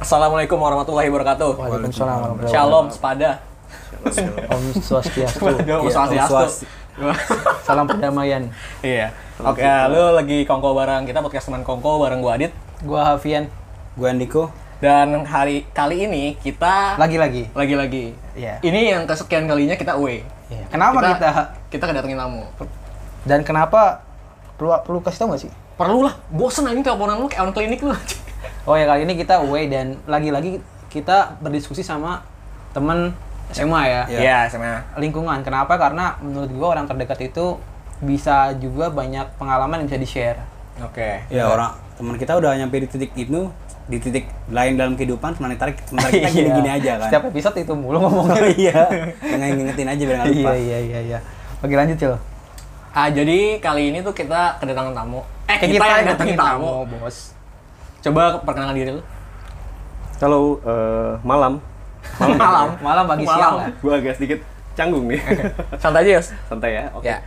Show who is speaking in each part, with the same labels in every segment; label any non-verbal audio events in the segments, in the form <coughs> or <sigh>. Speaker 1: Assalamualaikum warahmatullahi wabarakatuh.
Speaker 2: Waalaikumsalam warahmatullahi
Speaker 1: Shalom sepada.
Speaker 2: wabarakatuh. Om Swastiastu.
Speaker 1: <laughs> Waduh,
Speaker 2: Iya, Om
Speaker 1: swastiastu.
Speaker 2: Swasti- Salam perdamaian.
Speaker 1: Iya. Oke, lu lagi kongko bareng kita podcast teman kongko bareng gua Adit.
Speaker 2: Gua Hafian
Speaker 3: Gue Andiko.
Speaker 1: Dan hari kali ini kita
Speaker 2: lagi-lagi.
Speaker 1: lagi-lagi.
Speaker 2: Iya.
Speaker 1: Ini yang kesekian kalinya kita away.
Speaker 2: Iya. Kenapa kita,
Speaker 1: kita kedatengin tamu.
Speaker 2: dan kenapa perlu perlu kasih tahu gak sih?
Speaker 1: Perlulah, bosen anjing teleponan lu kayak orang klinik lu.
Speaker 2: Oh ya kali ini kita away dan lagi-lagi kita berdiskusi sama temen SMA ya.
Speaker 1: Iya, sama.
Speaker 2: Lingkungan. Kenapa? Karena menurut gua orang terdekat itu bisa juga banyak pengalaman yang bisa di-share.
Speaker 1: Oke.
Speaker 3: Ya orang teman kita udah nyampe di titik itu, di titik lain dalam kehidupan, sebenarnya tarik sementara kita
Speaker 2: Iya.
Speaker 3: gini-gini aja kan.
Speaker 2: Setiap episode itu mulu <laughs> ngomongnya.
Speaker 3: iya. Jangan ngingetin aja biar nggak lupa.
Speaker 2: iya, iya, iya, iya. Oke lanjut, Cil.
Speaker 1: Ah, jadi kali ini tuh kita kedatangan tamu. Eh, kita, yang datengin tamu.
Speaker 2: bos.
Speaker 1: Coba perkenalkan diri lu.
Speaker 4: Kalau eh, malam,
Speaker 1: Malam.
Speaker 2: Malam pagi
Speaker 1: Malam.
Speaker 2: siang lah.
Speaker 4: gue agak sedikit canggung
Speaker 1: <laughs>
Speaker 4: nih.
Speaker 1: Santai aja, Yos.
Speaker 4: Santai ya. Oke.
Speaker 1: Ya.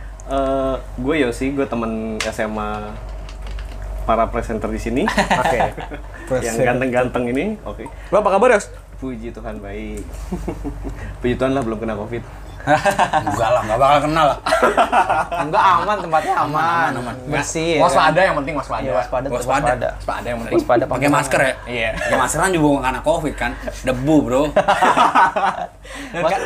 Speaker 4: gue Yosi, gue temen SMA para presenter di sini.
Speaker 1: <laughs> Oke.
Speaker 4: yang ganteng-ganteng ini. Oke.
Speaker 1: Lo apa kabar, Yos?
Speaker 4: Puji Tuhan baik.
Speaker 1: <laughs>
Speaker 4: Puji Tuhan lah belum kena Covid.
Speaker 3: Enggak lah, enggak bakal kenal
Speaker 1: <laughs>
Speaker 3: lah.
Speaker 2: Enggak aman tempatnya aman. Bersih. ya
Speaker 1: Waspada yang penting waspada.
Speaker 2: Iya, waspada. tetap
Speaker 3: Waspada.
Speaker 2: waspada.
Speaker 1: Waspada yang penting.
Speaker 2: Waspada
Speaker 3: Pakai masker ya?
Speaker 1: Iya.
Speaker 3: Pakai maskeran juga bukan karena covid kan. Debu bro.
Speaker 2: kan?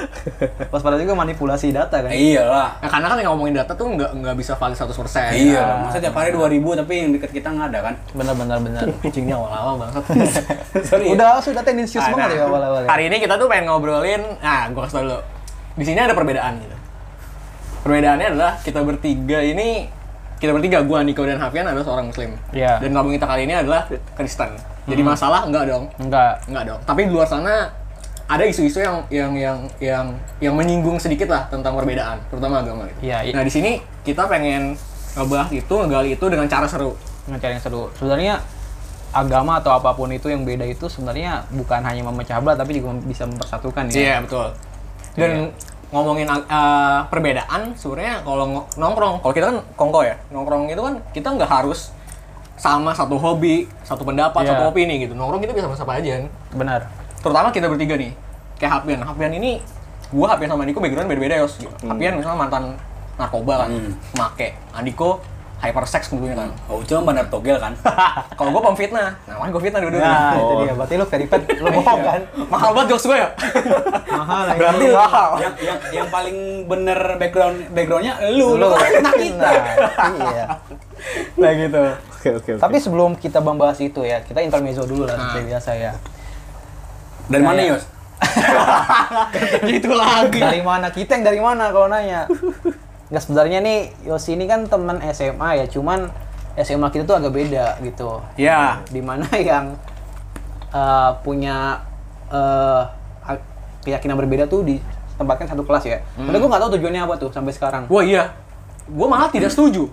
Speaker 2: Was- waspada juga manipulasi data kan.
Speaker 3: iyalah.
Speaker 1: Nah, karena kan yang ngomongin data tuh nggak nggak bisa valid 100%.
Speaker 3: Iya lah. Masa tiap hari 2000 tapi yang deket kita nggak ada kan.
Speaker 2: Bener bener <laughs> bener.
Speaker 1: Anjingnya awal-awal banget.
Speaker 3: <laughs> Sorry. ya.
Speaker 2: Udah sudah tendensius banget ya awal-awal. ya.
Speaker 1: Hari ini kita tuh pengen ngobrolin, nah gua kasih tau dulu. Di sini ada perbedaan gitu. Perbedaannya adalah kita bertiga ini kita bertiga gua Niko dan Hafian adalah seorang muslim.
Speaker 2: Iya. Hmm.
Speaker 1: Dan kampung kita kali ini adalah Kristen. Jadi masalah enggak dong.
Speaker 2: Enggak.
Speaker 1: Enggak dong. Tapi di luar sana ada isu-isu yang yang yang yang yang menyinggung sedikit lah tentang perbedaan, terutama agama gitu.
Speaker 2: Iya, iya.
Speaker 1: Nah, di sini kita pengen ngebahas itu, ngegali itu dengan cara seru.
Speaker 2: Mencari yang seru. Sebenarnya agama atau apapun itu yang beda itu sebenarnya bukan hanya memecah belah tapi juga mem- bisa mempersatukan ya.
Speaker 1: Iya, betul. Dan
Speaker 2: Iya.
Speaker 1: ngomongin eh, perbedaan sebenarnya kalau ngo- nongkrong, kalau kita kan kongko ya. Nongkrong itu kan kita nggak harus sama satu hobi, satu pendapat,
Speaker 2: Iya.
Speaker 1: satu opini gitu. Nongkrong kita bisa sama siapa aja. kan.
Speaker 2: Benar.
Speaker 1: terutama kita bertiga nih kayak Hapian Hapian ini gua Hapian sama Andiko background beda-beda yos gitu.
Speaker 2: Hmm.
Speaker 1: Hapian misalnya mantan narkoba kan make Andiko hypersex dulunya kan
Speaker 3: Oh, cuma bandar togel kan.
Speaker 1: Ah, kalau gua pemfitnah nah kan gua fitnah dulu
Speaker 2: Hmm. Nah,
Speaker 1: nah.
Speaker 2: itu dia. Berarti lu verified lu bohong kan?
Speaker 1: mahal banget jokes
Speaker 2: <laughs>
Speaker 1: gua ya
Speaker 2: Mahal. ya.
Speaker 1: berarti mahal
Speaker 3: yang, yang, yang paling bener background backgroundnya lu.
Speaker 2: Lu
Speaker 3: Lu kan anak kita.
Speaker 2: Nah, iya.
Speaker 1: <laughs> nah gitu
Speaker 4: Oke oke.
Speaker 2: Tapi sebelum kita membahas itu ya, kita intermezzo dulu lah seperti biasa ya.
Speaker 3: Dari mana Yos?
Speaker 1: gitu lagi
Speaker 2: dari mana kita yang dari mana kalau nanya nggak sebenarnya nih Yosi ini kan teman SMA ya cuman SMA kita tuh agak beda gitu
Speaker 3: Iya.
Speaker 1: ya
Speaker 2: dimana <laughs> yang eh, punya eh, a- keyakinan berbeda tuh di tempatkan satu kelas ya
Speaker 3: Hmm.
Speaker 2: tapi gue nggak tahu tujuannya apa tuh sampai sekarang
Speaker 1: wah iya gua malah tidak setuju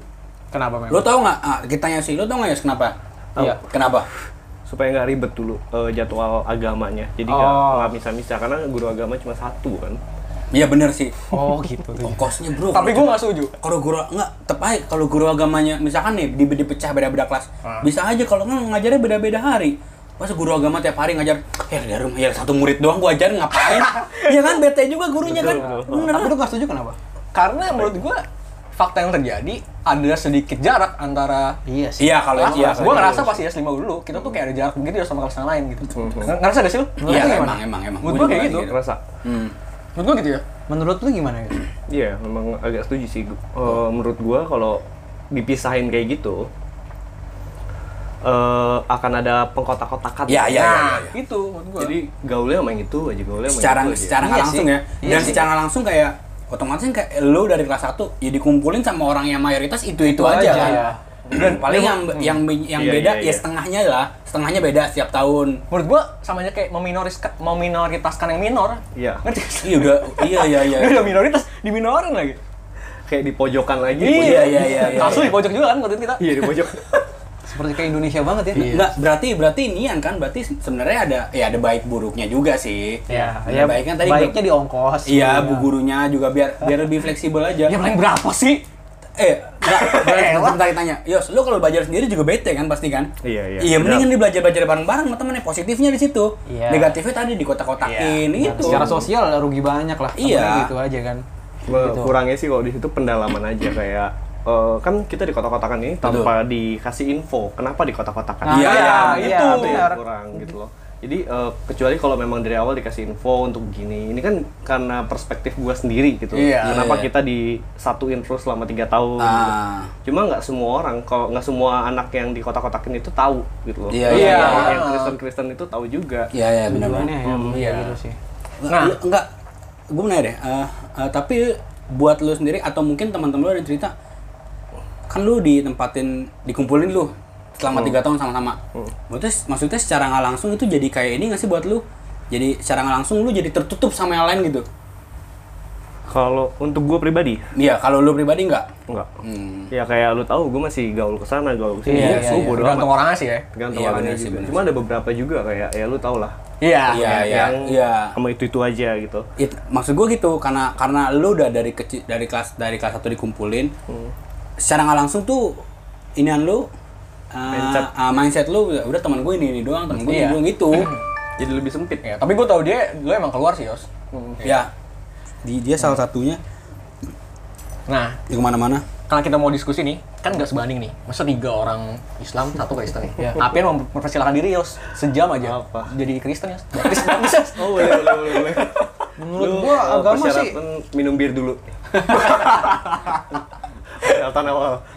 Speaker 2: kenapa memang
Speaker 3: Lu tau nggak? Ah, kita Yosi, lu tau nggak Yos kenapa?
Speaker 2: Iya.
Speaker 3: Kenapa?
Speaker 4: Supaya nggak ribet dulu eh, jadwal agamanya. Jadi nggak
Speaker 2: Oh.
Speaker 4: nggak misah-misah karena guru agama cuma satu kan.
Speaker 3: Iya bener sih.
Speaker 2: oh gitu
Speaker 3: Ongkosnya bro.
Speaker 1: <laughs> tapi
Speaker 3: kalau
Speaker 1: gua nggak setuju
Speaker 3: kalau guru enggak tepat aja kalau guru agamanya misalkan nih di- dipecah beda-beda kelas bisa aja kalau nggak ngajarnya beda-beda hari pas guru agama tiap hari ngajar ya dari rumah ya satu murid doang gua ajarin ngapain ya kan bete juga gurunya kan bener
Speaker 2: tapi lu nggak setuju kenapa
Speaker 1: karena menurut gua fakta yang terjadi ada sedikit jarak antara
Speaker 2: iya sih
Speaker 3: iya kalau
Speaker 1: kelas
Speaker 3: iya
Speaker 1: gue ngerasa pas IS 5 dulu kita tuh kayak ada jarak begitu ya sama kelas yang lain gitu Ng- ngerasa gak sih lu? Menurut
Speaker 3: Iya,
Speaker 1: lu gimana?
Speaker 3: emang, emang, emang.
Speaker 1: menurut gue
Speaker 3: Gua juga
Speaker 1: kayak gitu
Speaker 3: kayak gitu.
Speaker 4: Ngerasa?
Speaker 3: Hmm.
Speaker 1: menurut gue gitu ya
Speaker 2: menurut lu gimana gitu
Speaker 4: Iya, memang agak setuju sih. Gu- eh, menurut gua kalau dipisahin kayak gitu eh, akan ada pengkotak-kotakan.
Speaker 3: Iya, iya, iya,
Speaker 1: nah
Speaker 3: iya.
Speaker 1: itu menurut gue
Speaker 4: Jadi gaulnya sama yang itu aja, gaulnya sama
Speaker 3: secara
Speaker 4: yang itu aja.
Speaker 3: secara nggak
Speaker 2: Iya
Speaker 3: langsung
Speaker 2: sih.
Speaker 3: ya
Speaker 2: Iya
Speaker 3: dan
Speaker 2: sih.
Speaker 3: secara langsung kayak otomatis kan kayak lu dari kelas 1 ya dikumpulin sama orang yang mayoritas itu itu
Speaker 2: Itu
Speaker 3: aja
Speaker 2: aja,
Speaker 3: kan
Speaker 2: ya.
Speaker 3: dan paling yang yang yang
Speaker 4: Iya,
Speaker 3: beda
Speaker 4: iya,
Speaker 3: ya
Speaker 4: iya.
Speaker 3: setengahnya lah setengahnya beda setiap tahun
Speaker 1: menurut gue sama aja kayak meminoris meminoritaskan yang minor
Speaker 4: Iya.
Speaker 1: ngerti gak sih?
Speaker 3: iya udah iya iya
Speaker 1: <laughs>
Speaker 3: iya
Speaker 1: Ini udah minoritas diminorin lagi
Speaker 4: kayak di pojokan lagi.
Speaker 3: Iya, iya, iya, iya.
Speaker 1: kasus di pojok juga kan waktu itu kita
Speaker 4: Iya, di pojok.
Speaker 2: seperti kayak Indonesia banget ya
Speaker 3: Nggak, berarti berarti nian kan berarti se- sebenarnya ada ya ada baik buruknya juga sih.
Speaker 2: ya,
Speaker 3: Ada Iya. baiknya tadi Iya,
Speaker 2: baiknya
Speaker 3: bu-
Speaker 2: di ongkos Iya.
Speaker 3: Iya, bu gurunya juga biar biar lebih fleksibel aja.
Speaker 1: ya paling berapa sih?
Speaker 3: Eh, Enggak,
Speaker 2: <laughs>
Speaker 3: bentar, bentar tanya. Yos, lu kalau belajar sendiri juga bete kan pasti kan?
Speaker 4: Iya, iya.
Speaker 3: Iya, mendingan dia belajar-belajar bareng-bareng sama temennya. Positifnya di situ.
Speaker 2: Iya.
Speaker 3: Negatifnya tadi dikotak-kotakin gitu.
Speaker 2: Secara sosial rugi banyak lah.
Speaker 3: Iya.
Speaker 2: sebenarnya gitu aja kan.
Speaker 4: Gua kurangnya sih kalau di situ pendalaman aja kayak eh, kan kita di kotak-kotakan ini tanpa dikasih info kenapa di kotak-kotakan
Speaker 2: Nah,
Speaker 3: Iya, iya,
Speaker 2: iya,
Speaker 4: itu
Speaker 2: benar.
Speaker 4: yang kurang gitu loh jadi eh, kecuali kalau memang dari awal dikasih info untuk gini ini kan karena perspektif gua sendiri gitu
Speaker 1: Iya.
Speaker 3: Iya,
Speaker 4: kenapa
Speaker 3: iya.
Speaker 4: kita disatuin terus selama tiga tahun
Speaker 3: Ah.
Speaker 4: gitu. cuma nggak semua orang kalau nggak semua anak yang di kotak-kotakin itu tahu gitu loh
Speaker 3: Iya,
Speaker 4: Kalau
Speaker 1: iya.
Speaker 4: yang Kristen-Kristen itu tahu juga
Speaker 3: Iya, iya, benar benar.
Speaker 2: Gimana ya? Iya gitu sih.
Speaker 1: Nah.
Speaker 3: Nah, enggak. Gue benar deh. Eh, eh, tapi buat lu sendiri atau mungkin teman-teman lu ada yang cerita kan lu ditempatin dikumpulin lu
Speaker 1: Oh.
Speaker 3: selama tiga tahun sama-sama. Maksudnya, maksudnya secara nggak langsung itu jadi kayak ini nggak sih buat lu? Jadi secara nggak langsung lu jadi tertutup sama yang lain gitu.
Speaker 4: kalau untuk gua pribadi
Speaker 3: Iya, kalau lu pribadi nggak?
Speaker 4: Enggak.
Speaker 3: Hmm.
Speaker 4: Ya kayak lu tahu gue masih gaul ke sana, gaul ke sini.
Speaker 2: Iya,
Speaker 4: Iya,
Speaker 2: iya,
Speaker 4: gua
Speaker 2: iya.
Speaker 4: bodo
Speaker 1: Tergantung
Speaker 4: amat.
Speaker 1: orangnya sih ya.
Speaker 4: Tergantung
Speaker 3: Iya,
Speaker 4: orangnya
Speaker 3: bener sih,
Speaker 4: juga.
Speaker 3: bener
Speaker 4: Cuma ada beberapa juga kayak ya lu tau lah.
Speaker 1: Iya.
Speaker 3: Iya, iya,
Speaker 4: yang
Speaker 3: iya.
Speaker 4: sama itu-itu aja gitu.
Speaker 3: It- maksud gue gitu karena karena lu udah dari kecil dari kelas dari kelas satu dikumpulin
Speaker 1: Hmm.
Speaker 3: secara nggak langsung tuh inian lu uh,
Speaker 4: Mindset.
Speaker 3: uh, mindset lu udah udah teman gue ini ini doang teman gue
Speaker 1: Iya.
Speaker 3: ini doang gitu
Speaker 4: Jadi lebih sempit.
Speaker 1: Ya, tapi gue tau dia dulu emang keluar sih, Yos.
Speaker 3: <clears throat>
Speaker 1: Hmm.
Speaker 3: ya di, dia salah satunya
Speaker 1: Nah,
Speaker 3: di kemana-mana
Speaker 1: kalau kita mau diskusi nih, kan nggak sebanding nih. Masa tiga orang Islam, satu Kristen nih.
Speaker 3: Iya.
Speaker 1: Apian mau mempersilahkan diri, Yos. Sejam aja.
Speaker 4: Apa?
Speaker 1: Jadi Kristen, Yos. Baptis, baptis, Yos.
Speaker 4: Oh, boleh, boleh, boleh, boleh.
Speaker 2: Menurut
Speaker 4: Lu,
Speaker 2: gua
Speaker 4: eh,
Speaker 2: agama sih-
Speaker 4: persyaratan minum bir
Speaker 3: <laughs>
Speaker 4: dulu. Persyaratan awal. <laughs>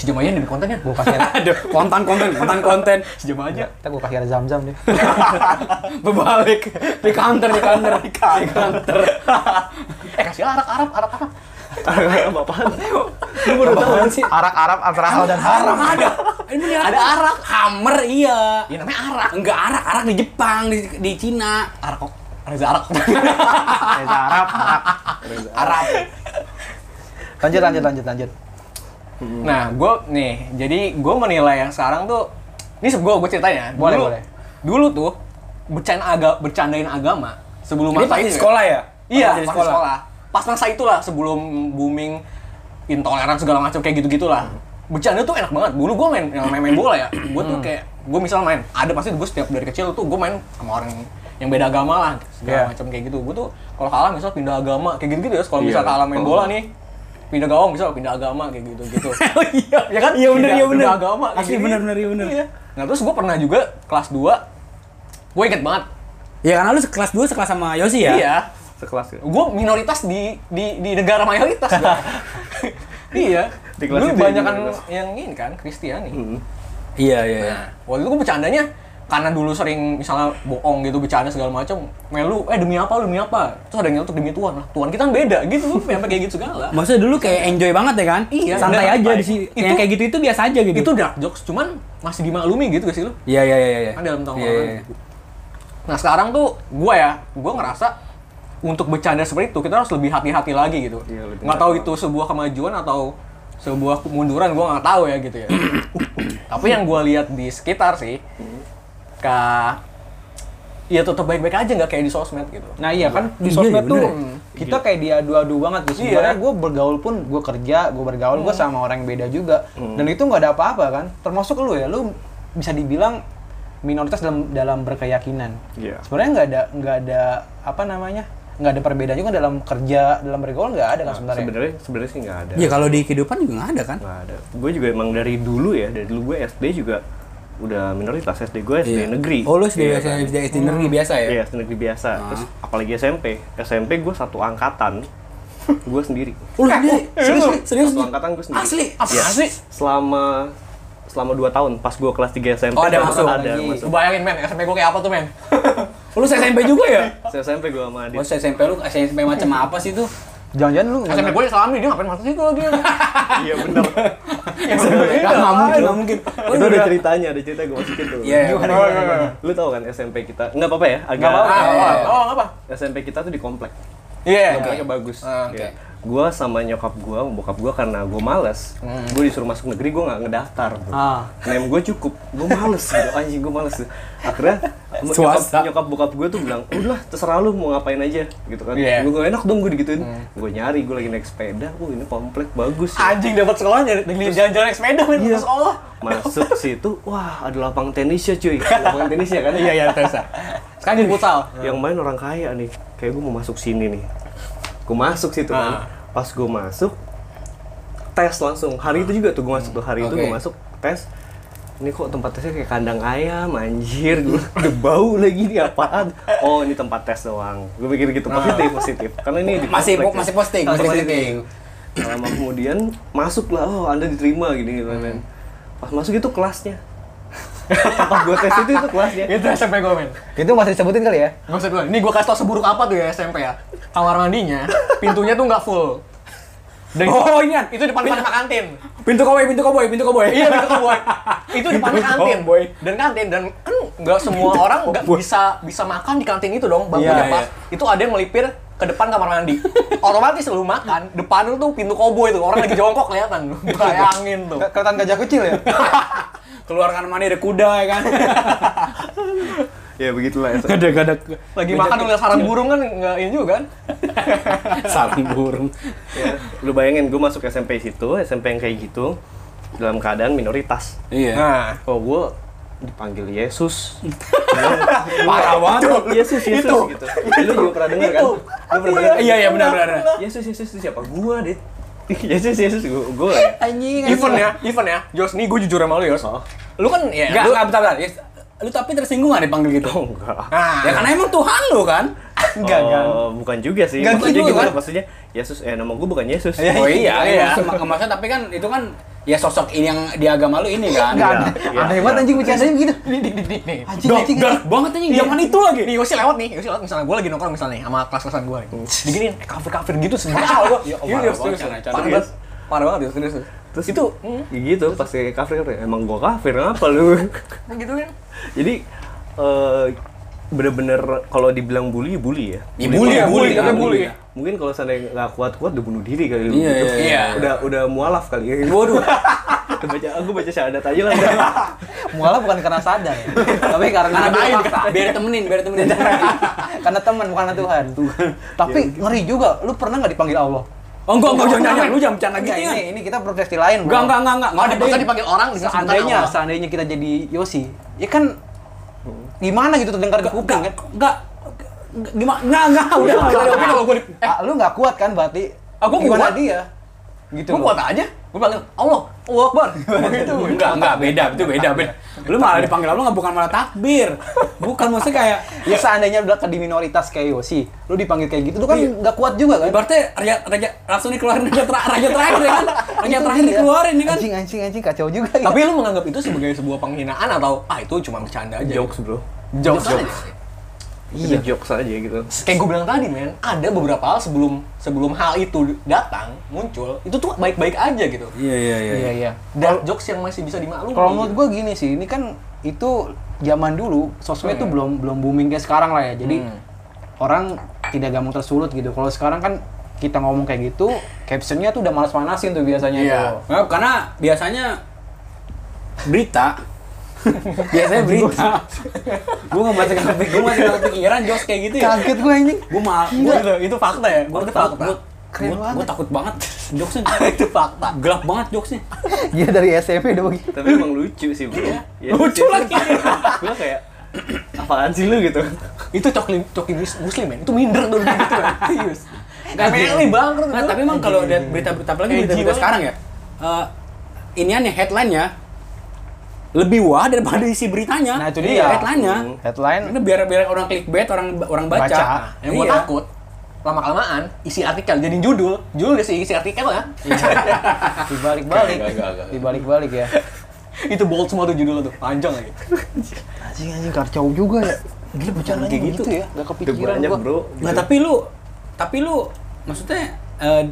Speaker 1: Sejam aja nih di kontennya.
Speaker 2: Gua kasih air-
Speaker 3: aduh konten konten konten konten
Speaker 1: <laughs> Sejam aja.
Speaker 2: Ntar gua kasih ada zam-zam deh.
Speaker 3: berbalik di counter di counter di counter
Speaker 1: eh, kasih lah arak Arab, arak Arab.
Speaker 4: Apa apaan?
Speaker 3: lu baru tahu kan sih
Speaker 2: Arak Arab antara halal dan haram.
Speaker 3: haram ada ini
Speaker 1: Ada arak.
Speaker 3: hammer iya
Speaker 1: Ya namanya arak.
Speaker 3: enggak arak arak di Jepang di di Cina
Speaker 1: Arak kok. Reza arak.
Speaker 2: Reza Arab. Arab.
Speaker 3: Arab
Speaker 2: Lanjut lanjut lanjut lanjut.
Speaker 1: nah, gue nih, jadi gue menilai yang sekarang tuh, ini gue gue ceritanya.
Speaker 2: Boleh,
Speaker 1: dulu,
Speaker 2: boleh.
Speaker 1: Dulu tuh bercanda aga, bercandain agama sebelum
Speaker 3: Ini
Speaker 1: masa
Speaker 3: pasti
Speaker 1: itu ya.
Speaker 3: sekolah ya?
Speaker 1: Iya,
Speaker 3: Pasti
Speaker 1: pas
Speaker 3: sekolah.
Speaker 1: sekolah. Pas masa itulah sebelum booming intoleran segala macam kayak gitu-gitulah. Bercanda tuh enak banget. Dulu gue main yang main, main bola ya. Gue tuh kayak gue misal main, ada pasti gue setiap dari kecil tuh gue main sama orang yang beda agama lah segala
Speaker 2: Iya.
Speaker 1: macam kayak gitu. Gue tuh kalau kalah misal pindah agama kayak gitu-gitu ya. Kalau misal
Speaker 4: Iya.
Speaker 1: kalah main
Speaker 4: Oh.
Speaker 1: bola nih pindah gawang misal pindah agama kayak gitu-gitu.
Speaker 3: Oh iya,
Speaker 1: ya kan?
Speaker 3: Iya benar,
Speaker 1: Pindah-
Speaker 3: iya benar.
Speaker 1: Pindah agama. kayak
Speaker 3: Asli
Speaker 1: gini.
Speaker 3: benar, benar, iya benar.
Speaker 1: Iya. Nah, terus gue pernah juga kelas 2 gue inget banget.
Speaker 3: Ya karena lu sekelas dua sekelas sama Yosi ya?
Speaker 1: Iya.
Speaker 4: Sekelas ya?
Speaker 1: gue minoritas di di di negara mayoritas
Speaker 3: <laughs>
Speaker 1: gua. iya
Speaker 4: Di kelas Hmm.
Speaker 1: dulu
Speaker 4: itu
Speaker 1: banyak kan
Speaker 4: minoritas.
Speaker 1: yang ini kan Kristiani
Speaker 3: Iya, iya. iya.
Speaker 1: nah waktu itu gue bercandanya karena dulu sering misalnya bohong gitu bercanda segala macam melu eh demi apa lu demi apa terus ada yang nyelotok demi Tuhan lah Tuhan kita kan beda gitu sampai kayak gitu
Speaker 3: <laughs>
Speaker 1: segala
Speaker 3: Maksudnya dulu kayak enjoy banget ya kan?
Speaker 1: Iya.
Speaker 3: Santai
Speaker 1: Dan
Speaker 3: aja
Speaker 1: apa-
Speaker 3: di sini.
Speaker 1: itu-
Speaker 3: Yang kayak gitu itu biasa aja gitu.
Speaker 1: itu dark jokes cuman masih dimaklumi gitu gak sih lu
Speaker 3: Iya, iya, iya, iya.
Speaker 1: Kan dalam tongkrongan.
Speaker 3: Iya, iya, iya.
Speaker 1: Nah sekarang tuh gue ya, gue ngerasa untuk bercanda seperti itu kita harus lebih hati-hati lagi gitu.
Speaker 4: Iya, lebih
Speaker 1: nggak tahu
Speaker 4: hati-hati.
Speaker 1: itu sebuah kemajuan atau sebuah kemunduran gue nggak tahu ya gitu ya. Tapi yang gue lihat di sekitar sih, ke ya tetap baik-baik aja nggak kayak di sosmed gitu.
Speaker 2: Nah iya kan di
Speaker 3: Iya,
Speaker 2: sosmed
Speaker 3: iya,
Speaker 2: tuh
Speaker 3: bener
Speaker 2: kita kayak diadu-adu banget gitu.
Speaker 1: Iya.
Speaker 2: Sebenarnya gue bergaul pun gue kerja, gue bergaul gue sama orang yang beda juga. Dan itu nggak ada apa-apa kan. Termasuk lu ya, lu bisa dibilang minoritas dalam dalam berkeyakinan.
Speaker 4: Iya.
Speaker 2: Sebenarnya nggak ada nggak ada apa namanya nggak ada perbedaan juga dalam kerja dalam bergaul nggak ada kan sebenarnya.
Speaker 4: Sebenarnya sebenarnya sih nggak ada.
Speaker 3: Ya kalau di kehidupan juga nggak ada kan?
Speaker 4: Nggak ada. Gue juga emang dari dulu ya, dari dulu gue SD juga udah minoritas SD gue SD negeri.
Speaker 3: Oh, lu SD
Speaker 4: Iya,
Speaker 3: biasa, SD SD negeri biasa ya?
Speaker 4: Iya, SD negeri biasa. Terus apalagi SMP. SMP gue satu angkatan, gue sendiri. iya.
Speaker 3: Oh, lu
Speaker 4: Eh,
Speaker 3: sendiri? Serius,
Speaker 4: Satu
Speaker 3: Li? serius. Li?
Speaker 4: angkatan gue sendiri.
Speaker 3: Asli?
Speaker 1: Apa
Speaker 4: Iya.
Speaker 1: sih?
Speaker 4: Selama selama 2 tahun pas gue kelas 3 SMP
Speaker 3: Oh, ada
Speaker 4: baru
Speaker 3: masuk
Speaker 4: ada
Speaker 3: lagi.
Speaker 4: masuk.
Speaker 1: Lu bayangin men, SMP gue kayak apa tuh men?
Speaker 3: Oh, lu SMP juga ya?
Speaker 4: Saya SMP gue sama
Speaker 3: Oh,
Speaker 4: Adit.
Speaker 3: SMP lu SMP macam apa sih tuh?
Speaker 2: Jangan-jangan lu
Speaker 1: SMP gue diselami dia ngapain masuk situ <laughs> lagi?
Speaker 4: Iya
Speaker 3: <laughs>
Speaker 4: bener.
Speaker 3: Nggak, nggak mungkin, nggak mungkin.
Speaker 4: Itu ada ceritanya, ada cerita gue masukin tuh.
Speaker 3: Oh, Iya,
Speaker 2: Gimana,
Speaker 3: iya.
Speaker 2: gimana, gimana?
Speaker 4: Lu tau kan SMP kita? Nggak apa-apa ya? Agak eh,
Speaker 1: Gak apa-apa.
Speaker 3: iya, iya.
Speaker 1: Oh, apa?
Speaker 4: SMP kita tuh di komplek.
Speaker 1: Iya.
Speaker 4: Kompleknya bagus.
Speaker 1: Ah,
Speaker 4: Iya.
Speaker 3: oke.
Speaker 4: gue sama nyokap gue, bokap gue karena gue males,
Speaker 3: Hmm.
Speaker 4: gue disuruh masuk negeri gue nggak ngedaftar.
Speaker 2: Ah.
Speaker 4: Nem gue cukup, gue males
Speaker 1: <laughs>
Speaker 4: gitu, anjing gue males. Akhirnya nyokap,
Speaker 3: Swasta.
Speaker 4: nyokap bokap gue tuh bilang, udahlah terserah lu mau ngapain aja gitu kan.
Speaker 1: Iya. Hmm.
Speaker 4: Gue gak enak dong gue digituin, gue nyari gue lagi naik sepeda, wah ini komplek bagus. ya.
Speaker 1: Anjing dapat sekolah dari dari jalan-jalan naik sepeda
Speaker 3: Iya.
Speaker 1: men ke sekolah.
Speaker 4: Masuk situ, wah ada lapang tenisnya cuy, lapang tenisnya kan.
Speaker 1: Iya iya terus. Sekarang jadi <laughs> futsal.
Speaker 4: Ah, yang main orang kaya nih kayak gue mau masuk sini nih gue masuk situ
Speaker 1: Ah.
Speaker 4: kan pas gue masuk tes langsung hari itu juga tuh gue masuk tuh hari itu gue
Speaker 3: Oke.
Speaker 4: masuk tes ini kok tempat tesnya kayak kandang ayam anjir gue <laughs> udah bau lagi nih apaan oh ini tempat tes doang gue pikir gitu positif positif karena ini di
Speaker 3: Ah. Masih
Speaker 4: komplek ya.
Speaker 3: masih posting,
Speaker 4: Masih
Speaker 3: masih
Speaker 4: posting.
Speaker 3: posting.
Speaker 4: Nah, lama kemudian masuklah oh anda diterima gini gitu
Speaker 3: Hmm.
Speaker 4: kan pas masuk itu kelasnya <laughs> pas gue tes itu itu kelasnya
Speaker 1: Itu SMP gue men.
Speaker 2: Itu masih disebutin kali ya?
Speaker 1: Gak usah duluan. Ini gue kasih tau seburuk apa tuh ya SMP ya. Kamar
Speaker 3: <laughs>
Speaker 1: mandinya, pintunya tuh nggak full. Dan
Speaker 3: Oh, ini kan.
Speaker 1: itu depan depan sama kantin.
Speaker 3: Pintu koboi, pintu koboi, pintu koboi.
Speaker 1: Iya pintu
Speaker 3: <laughs>
Speaker 1: koboi. Itu depan
Speaker 3: Pintu
Speaker 1: kantin,
Speaker 3: koboi.
Speaker 1: Dan kantin dan kan nggak
Speaker 3: <laughs>
Speaker 1: semua orang nggak bisa bisa makan di kantin itu dong. Bangkunya
Speaker 3: Oh, Iya,
Speaker 1: pas. Itu ada yang melipir ke depan kamar
Speaker 3: <laughs>
Speaker 1: mandi. Otomatis lu makan, depan lu tuh pintu koboi tuh. Orang lagi jongkok kelihatan.
Speaker 3: <laughs>
Speaker 1: Lu Bayangin tuh.
Speaker 2: Kelihatan gajah kecil <laughs> ya?
Speaker 3: Keluarkan mandi ada kuda ya kan.
Speaker 4: ya begitulah ya.
Speaker 3: Ada ada
Speaker 1: Lagi makan udah sarang burung kan nggak ini juga kan.
Speaker 3: sarang burung.
Speaker 4: ya. lu bayangin gue masuk SMP situ SMP yang kayak gitu dalam keadaan minoritas
Speaker 3: Iya.
Speaker 1: Nah,
Speaker 4: oh gue dipanggil Yesus
Speaker 3: Parah banget.
Speaker 4: Yesus Yesus
Speaker 1: itu,
Speaker 4: gitu lu juga pernah dengar kan
Speaker 1: itu.
Speaker 4: lu pernah dengar
Speaker 3: Iya, iya benar benar. benar.
Speaker 4: Yesus Yesus itu siapa gue dit <laughs> Yesus Yesus gue ya
Speaker 2: Anjing,
Speaker 1: even ya, even ya. Jos nih gue jujur sama lu Jos.
Speaker 4: Oh.
Speaker 1: Lu kan ya
Speaker 3: Enggak,
Speaker 1: lu-
Speaker 3: enggak bentar bentar. Yes. Lu tapi tersinggung gak dipanggil gitu?
Speaker 4: oh enggak
Speaker 1: Nah,
Speaker 3: Ya karena emang Tuhan lu kan.
Speaker 1: enggak enggak.
Speaker 4: Oh, bukan juga sih
Speaker 3: Enggak
Speaker 4: maksudnya
Speaker 3: gitu,
Speaker 4: gimana
Speaker 3: kan?
Speaker 4: maksudnya Yesus eh nama gue bukan Yesus
Speaker 3: Oh iya,
Speaker 1: iya.
Speaker 3: iya. Maksud- Maksudnya tapi kan itu kan ya sosok ini yang di agama lu ini kan.
Speaker 4: Enggak.
Speaker 2: Aneh
Speaker 4: Iya,
Speaker 2: aneh
Speaker 4: iya.
Speaker 2: banget anjing bercandanya begitu.
Speaker 1: Nih, nih, nih, nih.
Speaker 2: Anjing,
Speaker 3: Dark,
Speaker 2: anjing.
Speaker 3: dark banget anjing zaman itu lagi.
Speaker 1: Iya. Nih, Yosi lewat nih, Yosi lewat misalnya gue lagi nongkrong misalnya nih, sama kelas-kelasan gue nih Diginiin, eh kafir-kafir gitu sebenernya gue
Speaker 3: Ya, oh,
Speaker 1: Iya,
Speaker 3: parah
Speaker 1: Yos,
Speaker 3: banget,
Speaker 1: Yos,
Speaker 3: cara- cara
Speaker 1: parah
Speaker 4: Yos.
Speaker 1: banget Parah banget, Yos, serius
Speaker 4: terus itu
Speaker 1: Hmm?
Speaker 4: gitu pasti kafir emang gue kafir apa lu
Speaker 1: <laughs> Nah, gitu kan
Speaker 4: Jadi eh, bener-bener kalau dibilang bully, bully ya.
Speaker 3: Ya, bully, ya.
Speaker 4: orang.
Speaker 1: bully,
Speaker 4: Nah,
Speaker 1: katanya bully.
Speaker 4: Mungkin kalau seandainya nggak kuat-kuat udah bunuh diri kali lu.
Speaker 3: Iya,
Speaker 4: gitu.
Speaker 3: iya, iya.
Speaker 4: Udah udah mualaf kali. Ya. <laughs>
Speaker 3: Waduh.
Speaker 4: Aku baca aku baca syahadat aja lah.
Speaker 3: <laughs>
Speaker 2: Mualaf bukan karena sadar ya. Tapi karena kan.
Speaker 3: Karena biar
Speaker 2: ada
Speaker 3: fakta,
Speaker 2: fakta.
Speaker 3: biar temenin, biar temenin.
Speaker 2: Karena teman bukan karena Tuhan. Tapi ngeri juga, lu pernah nggak dipanggil Allah?
Speaker 3: Oh enggak, enggak, jangan, jangan, lu jangan bercanda
Speaker 2: Enggak,
Speaker 3: gitu kan.
Speaker 2: ini, ini kita profesi lain.
Speaker 3: Enggak,
Speaker 2: Bro.
Speaker 3: enggak, enggak, enggak.
Speaker 1: Malah
Speaker 3: Enggak
Speaker 1: dipaksa
Speaker 3: ada.
Speaker 1: dipanggil orang di
Speaker 2: Seandainya, seandainya kita jadi Yosi, ya kan gimana gitu terdengar di kuping kan?
Speaker 3: Enggak. Gimana? Enggak, enggak, udah.
Speaker 1: Udah,
Speaker 3: udah,
Speaker 1: tapi
Speaker 3: udah.
Speaker 1: kalau gue di... Eh,
Speaker 2: Ah, lu nggak kuat kan berarti?
Speaker 1: Ah, gua
Speaker 2: Gimana
Speaker 1: kuat.
Speaker 2: dia? Gitu.
Speaker 1: gue
Speaker 2: loh.
Speaker 1: kuat aja Gue panggil, Allah, Allah Akbar Gitu
Speaker 3: Enggak, enggak, beda, itu beda, beda. Lu malah dipanggil Allah enggak bukan malah takbir. Bukan maksudnya kayak
Speaker 2: Ya seandainya udah ke di minoritas kayak Yosi, lu dipanggil kayak gitu, lu kan nggak kuat juga kan?
Speaker 3: Ibaratnya raja, raja langsung dikeluarin raja, ter- raja terakhir ya kan? Raja
Speaker 2: Itu
Speaker 3: terakhir
Speaker 2: dia.
Speaker 3: dikeluarin ya kan?
Speaker 2: Anjing anjing anjing kacau juga. ya.
Speaker 1: iya. Tapi lu menganggap itu sebagai sebuah penghinaan atau Ah itu cuma bercanda aja
Speaker 4: jokes, Bro.
Speaker 1: Jokes aja
Speaker 4: Iya, jokes aja gitu.
Speaker 1: kayak gue bilang tadi men ada beberapa hal sebelum sebelum hal itu datang muncul itu tuh baik-baik aja gitu
Speaker 3: Iya, iya,
Speaker 2: iya iya.
Speaker 1: dan jokes yang masih bisa dimaklumi
Speaker 2: Kalau menurut gua gini sih, ini kan itu zaman dulu sosmed tuh belum belum booming kayak sekarang lah ya. Jadi orang tidak gampang tersulut gitu. Kalau sekarang kan kita ngomong kayak gitu, captionnya tuh udah malas-manasin tuh biasanya
Speaker 1: Iya.
Speaker 2: tuh.
Speaker 3: Nah, karena biasanya
Speaker 2: <laughs>
Speaker 3: berita biasanya berita gue nggak masih kepikiran gue masih nggak kepikiran jokes kayak gitu ya
Speaker 2: Kaget gua <laughs> anjing.
Speaker 3: gue mal
Speaker 1: Itu-
Speaker 3: gue
Speaker 1: itu, itu fakta ya
Speaker 3: gue
Speaker 1: Itu
Speaker 3: takut
Speaker 1: fakta
Speaker 2: Keren
Speaker 3: gue
Speaker 2: banget.
Speaker 3: takut banget <laughs>
Speaker 2: <laughs>
Speaker 3: jokesnya
Speaker 1: itu fakta
Speaker 3: gelap banget jokesnya
Speaker 2: Dia Iya, dari SMP udah begitu.
Speaker 4: Tapi emang lucu sih, Bro. Ya,
Speaker 3: Iya. Lucu
Speaker 4: terus-
Speaker 3: lagi.
Speaker 4: <laughs> Gua kayak <clears throat> apaan sih lu gitu.
Speaker 1: itu cokli cokli mus- muslim men itu minder
Speaker 3: <laughs>
Speaker 1: tuh gitu men serius
Speaker 3: Nggak,
Speaker 1: Meli bangkrut
Speaker 3: Nggak,
Speaker 1: tuh.
Speaker 3: tapi emang kalau lihat berita-berita apalagi
Speaker 1: Edgy
Speaker 3: berita-berita
Speaker 1: banget.
Speaker 3: sekarang ya eh inian ya headline-nya lebih wah daripada isi beritanya
Speaker 2: Nah, itu dia.
Speaker 3: Iya, headline-nya
Speaker 2: Headline
Speaker 3: karena biar biar orang clickbait orang orang baca, Iya.
Speaker 2: Baca.
Speaker 1: Nah, yang gue takut lama kelamaan isi artikel jadi judul judul sih isi artikel ya
Speaker 3: Iya.
Speaker 1: <laughs>
Speaker 2: dibalik-balik.
Speaker 3: Enggak, enggak, enggak.
Speaker 2: Dibalik-balik ya.
Speaker 1: itu bold semua tuh judul tuh panjang lagi
Speaker 2: Anjing anjing kacau juga ya. Gila bercandanya
Speaker 3: kayak
Speaker 2: kayak
Speaker 3: gitu.
Speaker 2: gitu ya, enggak
Speaker 4: Udah
Speaker 2: kepikiran
Speaker 4: banyak,
Speaker 2: gua.
Speaker 4: Bro.
Speaker 3: Nah
Speaker 4: gitu.
Speaker 3: tapi lu, tapi lu maksudnya eh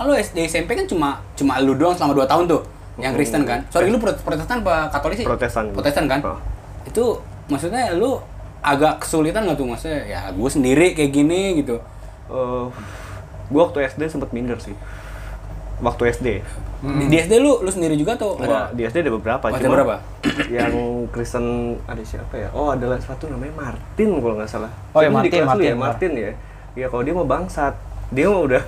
Speaker 3: kalau SD SMP kan cuma cuma lu doang selama 2 tahun tuh yang Kristen kan. Sorry lu Pro- Protestan apa Katolik sih?
Speaker 4: Protestan.
Speaker 3: Protestan kan.
Speaker 4: Oh.
Speaker 3: Itu maksudnya lu agak kesulitan nggak tuh maksudnya ya gue sendiri kayak gini gitu.
Speaker 4: Eh, Gue waktu SD sempet minder sih. Waktu SD.
Speaker 3: Di- Di SD lu lu sendiri juga tuh
Speaker 4: Wah,
Speaker 3: ada
Speaker 4: di SD ada beberapa.
Speaker 3: Ada
Speaker 4: cuma
Speaker 3: berapa?
Speaker 4: <coughs> Yang Kristen ada siapa ya? Oh, ada satu namanya Martin kalau nggak salah.
Speaker 2: Oh, ya,
Speaker 4: Itu
Speaker 2: Martin,
Speaker 4: di kelas lu ya,
Speaker 2: Martin.
Speaker 4: Martin ya. Ya kalau dia mau bangsat, dia mau udah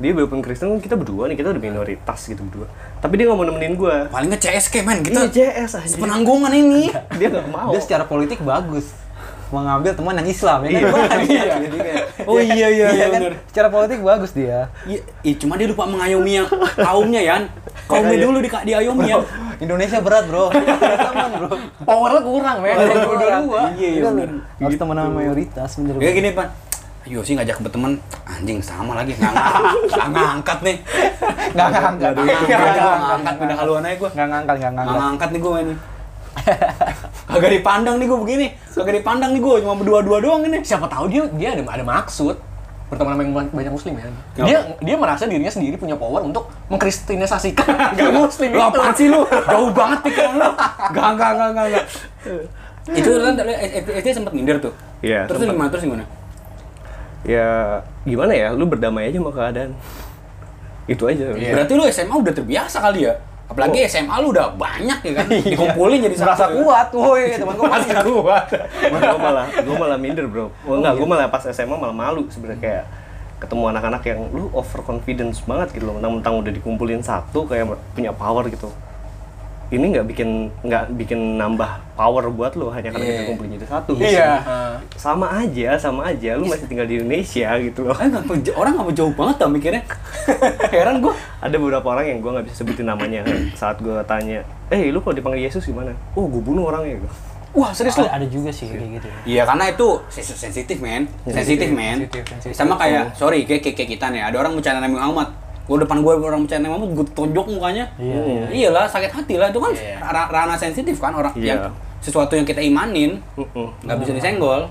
Speaker 4: dia walaupun Kristen kita berdua nih, kita udah minoritas gitu berdua. Tapi dia nggak mau nemenin gue.
Speaker 3: paling nge CSK men
Speaker 4: Kita
Speaker 3: kita
Speaker 4: JS aja.
Speaker 3: penanggungan ini.
Speaker 4: <laughs> Dia nggak mau.
Speaker 2: Dia secara politik bagus. Mengambil teman yang Islam ya kan? <laughs> Iya. Jadi kayak-
Speaker 3: Oh iya iya
Speaker 2: Iya
Speaker 3: iya
Speaker 2: kan?
Speaker 3: bener.
Speaker 2: Secara politik bagus dia.
Speaker 3: Iya, ih, cuma dia lupa mengayomi yang kaumnya Yan. Kaumnya
Speaker 4: Makanya.
Speaker 3: dulu di di ayomi Yan.
Speaker 2: Indonesia berat, Bro. Harus teman, Bro.
Speaker 1: Powernya kurang, men.
Speaker 2: Orang.
Speaker 1: Dua-dua.
Speaker 2: Iya, iya. bener. Gitu. Iya, Harus teman sama mayoritas bener.
Speaker 3: Kayak gini Pan. Ayo sih ngajak berteman, anjing sama lagi nggak ngangkat, nggak ngangkat nih.
Speaker 2: Enggak ngangkat.
Speaker 3: Nggak ngangkat, nggak ngangkat, pindah haluan aja gue.
Speaker 2: Enggak ngangkat, enggak
Speaker 3: Nggak
Speaker 2: ngangkat.
Speaker 3: ngangkat nih gue ini. Kagak dipandang nih gue begini, kagak dipandang nih gue cuma berdua-dua doang ini.
Speaker 1: Siapa tahu dia dia ada ada maksud berteman sama yang ba- banyak muslim ya. Dia dia merasa dirinya sendiri punya power untuk mengkristenisasikan ke muslim
Speaker 3: Lu
Speaker 1: itu.
Speaker 3: apaan sih lu? Jauh banget pikiran lu. Gak, gak, gak, gak, gak. Itu kan SD sempat minder tuh.
Speaker 4: Iya,
Speaker 3: Terus
Speaker 4: sempet.
Speaker 3: gimana? Terus gimana?
Speaker 4: Ya gimana ya? Lu berdamai aja sama keadaan. Itu aja.
Speaker 1: Iya.
Speaker 3: Berarti lu SMA udah terbiasa kali ya? Apalagi SMA lu udah banyak ya kan? Dikumpulin jadi satu.
Speaker 2: Merasa kuat, woi, teman gua.
Speaker 3: Merasa kuat.
Speaker 4: gue malah gue malah minder bro oh, enggak gue malah pas SMA malah malu sebenarnya kayak ketemu anak-anak yang lu overconfidence banget gitu loh mentang-mentang udah dikumpulin satu kayak punya power gitu ini nggak bikin nggak bikin nambah power buat lu hanya karena kita
Speaker 3: Iya.
Speaker 4: kumpulin jadi satu
Speaker 1: Iya.
Speaker 4: sama aja sama aja lu masih tinggal di Indonesia gitu loh
Speaker 3: Kan nggak pe- orang nggak jauh banget tau mikirnya. <laughs> Heran gua.
Speaker 4: ada beberapa orang yang gue nggak bisa sebutin namanya saat gue tanya eh lu kalau dipanggil Yesus gimana oh gue bunuh orangnya gitu.
Speaker 1: Wah, serius lu.
Speaker 2: Ada, ada juga sih kayak gitu.
Speaker 3: Iya karena itu sensi- sensitif men, sensitif men.
Speaker 2: sensitif, sensitif.
Speaker 3: Sama kayak sorry kayak kayak, kayak kita nih, ada orang bercanda Nabi Muhammad. Gue depan gue orang bercanda Nabi Muhammad, gue tonjok mukanya.
Speaker 2: Iya,
Speaker 3: Iyalah sakit hati lah itu kan ra- ranah sensitif kan orang
Speaker 4: Iya.
Speaker 3: yang sesuatu yang kita imanin
Speaker 4: Mm-mm.
Speaker 3: nggak bisa disenggol.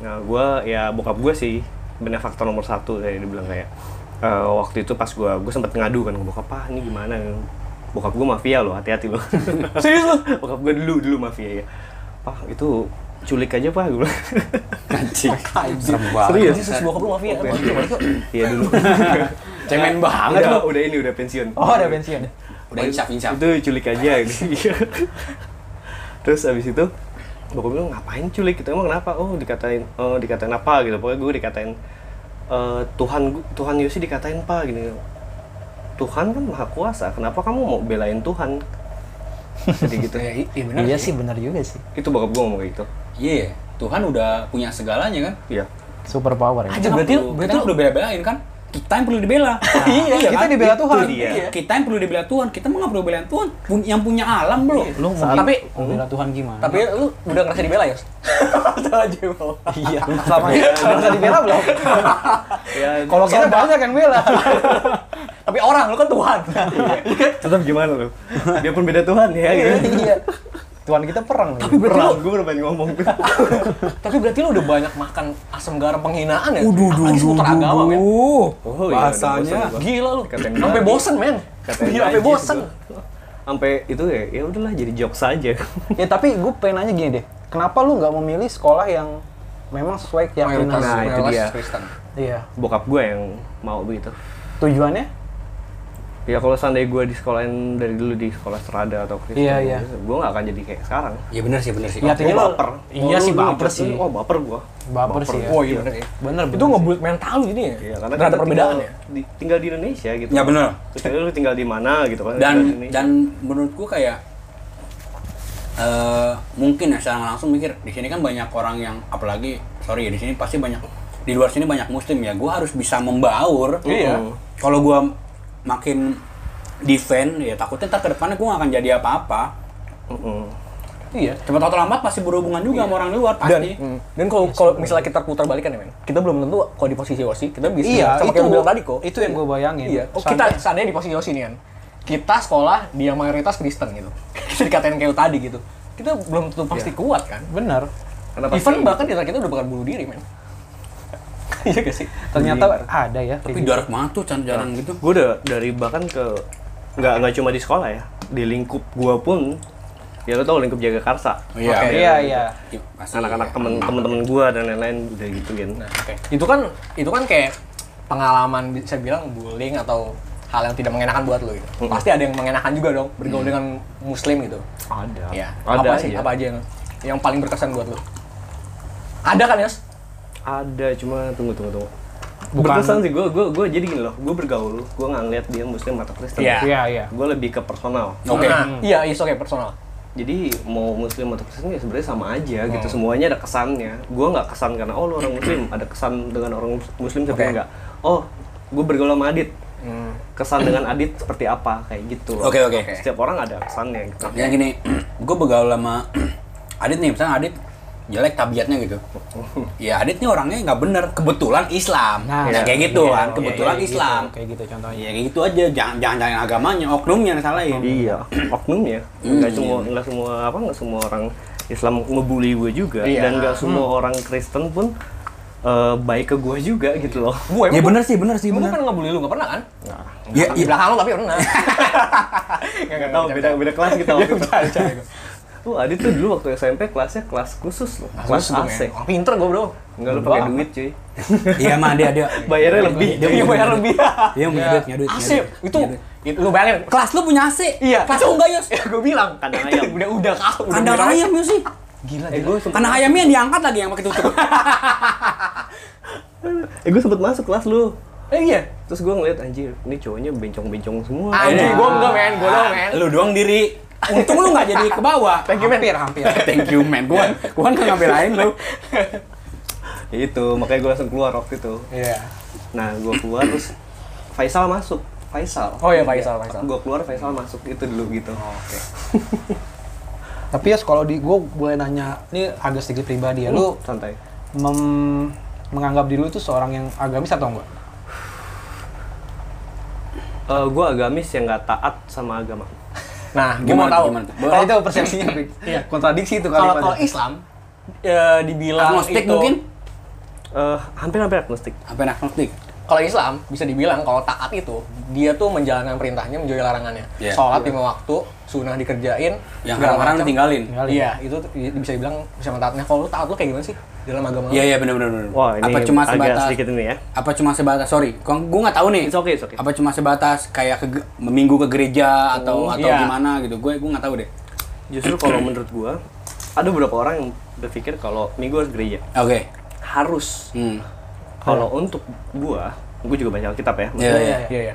Speaker 4: Nah, gue ya bokap gue sih benefaktor nomor satu kayak dibilang kayak Eh, waktu itu pas gue gue sempet ngadu kan ke bokap ah ini gimana bokap gue mafia loh hati-hati
Speaker 1: <laughs>
Speaker 4: loh serius loh bokap gue dulu dulu mafia ya pak itu culik aja pak gue bilang.
Speaker 3: <laughs> Anjing. Serem
Speaker 4: <laughs> serius
Speaker 1: Serius bokap lu mafia.
Speaker 4: Waktu itu. iya dulu
Speaker 3: Cemen banget
Speaker 4: udah,
Speaker 3: lo.
Speaker 4: udah ini udah pensiun
Speaker 2: Oh, ada pensiun.
Speaker 3: Udah insaf insaf.
Speaker 4: itu culik <laughs> aja gitu. Iya. terus abis itu bokap gue ngapain culik gitu emang kenapa oh dikatain oh dikatain apa gitu pokoknya gue dikatain "Eh, Tuhan gu- Tuhan Yosi dikatain pak gini Tuhan kan maha kuasa kenapa kamu mau belain Tuhan jadi <laughs> gitu
Speaker 1: Iya, i- iya benar.
Speaker 2: Iya sih, bener juga sih.
Speaker 4: itu bokap gue ngomong kayak gitu
Speaker 3: Iya. Tuhan udah punya segalanya kan.
Speaker 4: iya
Speaker 2: Super power ya.
Speaker 1: Aja berarti
Speaker 3: Kita
Speaker 1: berarti
Speaker 3: kan udah bela-belain kan. Kita yang perlu dibela.
Speaker 2: Iya, kita dibela Tuhan.
Speaker 4: itu dia.
Speaker 3: Iya. Kita yang perlu dibela Tuhan. Kita mah nggak perlu belain Tuhan. Pun- Yang punya alam bro.
Speaker 2: Lu mau
Speaker 1: Saat-
Speaker 2: tapi mau bela Tuhan gimana?
Speaker 1: tapi lu udah ngerasa dibela ya? aja bawah.
Speaker 2: iya, sama ini udah bisa dibela belum?
Speaker 4: <laughs> ya
Speaker 2: Kalau kita banyak yang bela.
Speaker 1: <laughs> Tapi orang lu kan Tuhan.
Speaker 4: tetap gimana lo dia pun <laughs> beda Tuhan ya gitu
Speaker 2: Iya. Tuhan kita perang.
Speaker 1: Tapi berarti lu
Speaker 4: Perang, gue bermain ngomong <laughs> tuh
Speaker 1: tapi berarti lu udah banyak makan asam garam penghinaan ya?
Speaker 3: Uduh, uduh,
Speaker 1: Apalagi seputar
Speaker 3: uduh,
Speaker 1: agama, men.
Speaker 3: uduh.
Speaker 4: Oh, iya,
Speaker 3: Bahasanya.
Speaker 4: udah bosan gua.
Speaker 1: Gila lu.
Speaker 4: Dikatain
Speaker 1: Sampai
Speaker 4: babi.
Speaker 1: bosen, men.
Speaker 4: Katanya
Speaker 1: Gila, Iya, sampai
Speaker 4: najis
Speaker 1: bosen.
Speaker 4: gua. sampai itu ya ya udahlah jadi jokes aja <laughs>
Speaker 2: Ya tapi gue pengen nanya gini deh, kenapa lu nggak memilih sekolah yang memang sesuai keyakinan?
Speaker 1: Mayoritas
Speaker 2: lu?
Speaker 4: Nah, itu
Speaker 1: mayoritas
Speaker 4: dia.
Speaker 1: Kristen.
Speaker 2: Iya.
Speaker 4: bokap gue yang mau begitu
Speaker 2: Tujuannya?
Speaker 4: ya kalau seandainya gue di sekolahin dari dulu di sekolah serada atau Kristen
Speaker 2: Iya, iya.
Speaker 4: gue gak akan jadi kayak sekarang
Speaker 3: Iya benar sih benar sih.
Speaker 2: Ya, artinya
Speaker 4: Gua
Speaker 2: lu-
Speaker 4: baper
Speaker 2: Iya
Speaker 4: Gua
Speaker 2: sih
Speaker 4: dulu
Speaker 2: baper
Speaker 4: ngejudge,
Speaker 2: sih.
Speaker 4: oh baper gue
Speaker 2: Baper sih ya.
Speaker 1: Oh iya bener ya.
Speaker 2: Bener,
Speaker 1: Itu ngebuat mental lu jadi ya?
Speaker 4: Iya, karena
Speaker 1: karena
Speaker 4: kita
Speaker 1: ada perbedaan
Speaker 4: tinggal,
Speaker 1: ya.
Speaker 4: di, tinggal di Indonesia gitu
Speaker 2: Iya,
Speaker 3: Ya benar.
Speaker 4: kecuali lu tinggal di mana gitu kan tinggal di
Speaker 3: Dan
Speaker 4: Indonesia.
Speaker 3: dan menurutku kayak eh mungkin ya secara nggak langsung mikir di sini kan banyak orang yang apalagi sorry ya di sini pasti banyak di luar sini banyak muslim ya gue harus bisa membaur
Speaker 1: Iya.
Speaker 3: kalau gue makin defend ya takutnya ntar ke depannya gue gak akan jadi apa-apa
Speaker 4: Mm-mm.
Speaker 1: Iya.
Speaker 3: cepat atau lambat pasti berhubungan juga sama orang luar
Speaker 1: Dan,
Speaker 3: pasti
Speaker 1: dan kalau
Speaker 2: Iya,
Speaker 1: kalau misalnya kita putar balikan ya men, kita belum tentu kalau di posisi Yosi kita bisa
Speaker 2: Iya,
Speaker 1: sama
Speaker 2: itu-
Speaker 1: kayak lu bilang tadi kok.
Speaker 2: itu yang gua bayangin.
Speaker 1: Iya. Oh, kita seandainya di posisi Yosi nih kan, kita sekolah dia mayoritas Kristen gitu, <laughs> kita dikatain kayak lu tadi gitu, kita belum tentu pasti kuat kan.
Speaker 2: Iya. Bener.
Speaker 4: karena pasti
Speaker 1: Even bahkan di antara kita udah bakal bunuh diri men. <laughs> Iya gak sih?
Speaker 2: Ternyata ada ya.
Speaker 3: tapi
Speaker 2: kayak gitu.
Speaker 3: jarak banget tuh jalan-jalan gitu
Speaker 4: gue udah dari bahkan ke nggak nggak cuma di sekolah ya di lingkup gue pun ya lo tau lingkup jaga karsa
Speaker 3: iya
Speaker 1: Oke.
Speaker 2: Iya iya.
Speaker 3: pasti
Speaker 2: Nah,
Speaker 3: iya.
Speaker 4: anak-anak temen temen-temen gue dan lain-lain udah gitu kan
Speaker 1: Itu kan itu kan kayak pengalaman bisa bilang bullying atau hal yang tidak mengenakan buat lo gitu. Pasti ada yang mengenakan juga dong bergaul
Speaker 2: Mm.
Speaker 1: dengan muslim gitu.
Speaker 4: Ada.
Speaker 1: Iya.
Speaker 4: Ada
Speaker 1: Apa sih?
Speaker 4: iya.
Speaker 1: Apa aja yang yang paling berkesan buat lo? Ada kan, Yos?
Speaker 4: Ada, cuma tunggu tunggu tunggu.
Speaker 2: Bukan-
Speaker 4: Berkesan sih, gue gue gue jadi gini loh, gue bergaul, gue nggak ngeliat dia muslim atau Kristen.
Speaker 1: Iya.
Speaker 2: Iya, iya.
Speaker 4: Gue lebih ke personal.
Speaker 3: Oke.
Speaker 1: Nah, Iya, iya, oke personal.
Speaker 4: Jadi mau muslim atau Kristen ya sebenarnya sama aja
Speaker 1: Oh.
Speaker 4: gitu. Semuanya ada kesannya. Gue nggak kesan karena oh lu orang muslim, ada kesan dengan orang muslim tapi
Speaker 1: Oke. Hmm.
Speaker 4: enggak. Oh, gue bergaul sama Adit. Kesan dengan Adit seperti apa kayak gitu. loh.
Speaker 3: Oke, oke.
Speaker 4: Setiap orang ada kesannya gitu.
Speaker 3: Yang Ya, gini, <clears throat> gue begaul sama <clears throat> Adit nih, misalnya Adit jelek tabiatnya gitu. Ya Adit nih orangnya nggak bener, kebetulan Islam. Nah,
Speaker 2: Nah,
Speaker 3: kayak gitu kan, kebetulan
Speaker 2: Iya, iya,
Speaker 3: Islam.
Speaker 2: gitu, kayak gitu contohnya.
Speaker 3: Ya kayak gitu aja, jangan jangan jangan agamanya, oknumnya yang salahin.
Speaker 4: Iya, oknum ya.
Speaker 1: Hmm.
Speaker 4: Nggak semua nggak semua apa nggak semua orang Islam ngebully gue juga
Speaker 1: Iya.
Speaker 4: dan nggak semua orang Kristen pun eh, baik ke gue juga gitu loh.
Speaker 1: Iya. Gue
Speaker 3: Ya bener sih, bener sih,
Speaker 1: Gue
Speaker 3: bener.
Speaker 1: pernah ngebully lu, gak pernah kan?
Speaker 3: Ya,
Speaker 1: Di
Speaker 3: iya.
Speaker 1: belakang lu tapi pernah. Gak
Speaker 4: Nggak tahu beda beda kelas gitu.
Speaker 1: <laughs> Iya, bercanda gua.
Speaker 4: Tuh Adit tuh dulu waktu SMP kelasnya kelas khusus loh,
Speaker 1: Masuk
Speaker 4: kelas
Speaker 1: dong ya.
Speaker 4: AC.
Speaker 1: Orang pinter gue bro.
Speaker 4: Nggak lu
Speaker 1: Bodoh
Speaker 4: pakai
Speaker 1: amat.
Speaker 4: duit cuy.
Speaker 3: Iya mah dia dia.
Speaker 4: Bayarnya lebih.
Speaker 1: Dia punya <laughs> bayar lebih. Iya.
Speaker 3: Dia punya duit, punya duit. punya
Speaker 1: Asik.
Speaker 3: duit.
Speaker 1: Itu, itu lu bayangin. <laughs>
Speaker 3: Kelas lu punya AC?
Speaker 1: Iya.
Speaker 3: Kelas lu enggak, Yos?
Speaker 1: Gue bilang.
Speaker 4: Kandang ayam.
Speaker 1: Udah udah kau. udah
Speaker 3: Kandang
Speaker 1: bilang.
Speaker 3: ayam, Yos sih.
Speaker 1: Gila.
Speaker 4: Eh
Speaker 1: gila.
Speaker 4: gue sempet,
Speaker 3: Kandang ayamnya yang diangkat lagi yang pakai tutup.
Speaker 4: eh, gue sempet masuk kelas lu.
Speaker 1: Eh iya.
Speaker 4: Terus gue ngeliat anjir, ini cowoknya bencong-bencong semua.
Speaker 1: Anjir, gue enggak men. Gue doang men.
Speaker 3: Iya. Ah, Lu doang diri. Untung lu nggak jadi ke
Speaker 2: <laughs>
Speaker 3: bawah.
Speaker 1: Thank you men.
Speaker 2: Hampir, hampir.
Speaker 3: Thank you man, gua gua nggak ngambil lu.
Speaker 4: Ya itu, makanya gue langsung keluar waktu itu.
Speaker 1: Iya.
Speaker 4: Nah, gue keluar terus Faisal masuk. Faisal.
Speaker 1: Oh iya, Faisal, Faisal.
Speaker 4: Gue keluar Faisal masuk itu dulu gitu.
Speaker 3: Oh.
Speaker 1: Oke.
Speaker 2: Tapi ya kalau di gue boleh nanya, ini agak sedikit pribadi
Speaker 1: Oh.
Speaker 2: ya. Lu
Speaker 4: santai.
Speaker 2: mem- menganggap diri lu itu seorang yang agamis atau enggak?
Speaker 4: Eh gue agamis yang nggak taat sama agama.
Speaker 1: Nah, gue mau
Speaker 3: Gimana tuh,
Speaker 1: tahu.
Speaker 3: gimana tuh?
Speaker 1: Kalau-
Speaker 2: Nah, itu persepsinya Pik.
Speaker 1: Iya.
Speaker 2: kontradiksi itu
Speaker 1: Kalau kalau
Speaker 2: kalimatnya.
Speaker 1: Islam ya dibilang
Speaker 3: Agnostik mungkin?
Speaker 4: Eh hampir-hampir agnostik.
Speaker 3: Apa yang agnostik?
Speaker 1: kalau Islam bisa dibilang kalau taat itu dia tuh menjalankan perintahnya menjauhi larangannya
Speaker 3: Iya.
Speaker 1: sholat lima waktu sunnah dikerjain
Speaker 3: Yang
Speaker 1: segala
Speaker 3: haram-haram
Speaker 1: macam.
Speaker 3: ditinggalin.
Speaker 1: iya itu tuh di- bisa dibilang bisa mentaatnya kalau lu taat lu kayak gimana sih dalam agama lu?
Speaker 3: Iya iya benar benar benar.
Speaker 4: Wah, ini
Speaker 3: apa cuma
Speaker 4: agak
Speaker 3: sebatas
Speaker 4: sedikit ini ya.
Speaker 3: Apa cuma sebatas sorry, gua gua nggak tahu nih.
Speaker 4: It's okay, it's okay.
Speaker 3: Apa cuma sebatas kayak ke ge- minggu ke gereja atau atau
Speaker 1: iya.
Speaker 3: gimana gitu. Gue gua nggak tahu deh.
Speaker 4: Justru
Speaker 3: <clears throat>
Speaker 4: kalau menurut gue, ada beberapa orang yang berpikir kalau minggu harus gereja.
Speaker 3: Oke.
Speaker 4: Harus.
Speaker 3: Hmm.
Speaker 4: Kalau untuk gue, gue juga baca Alkitab ya.
Speaker 3: Iya iya.
Speaker 1: iya iya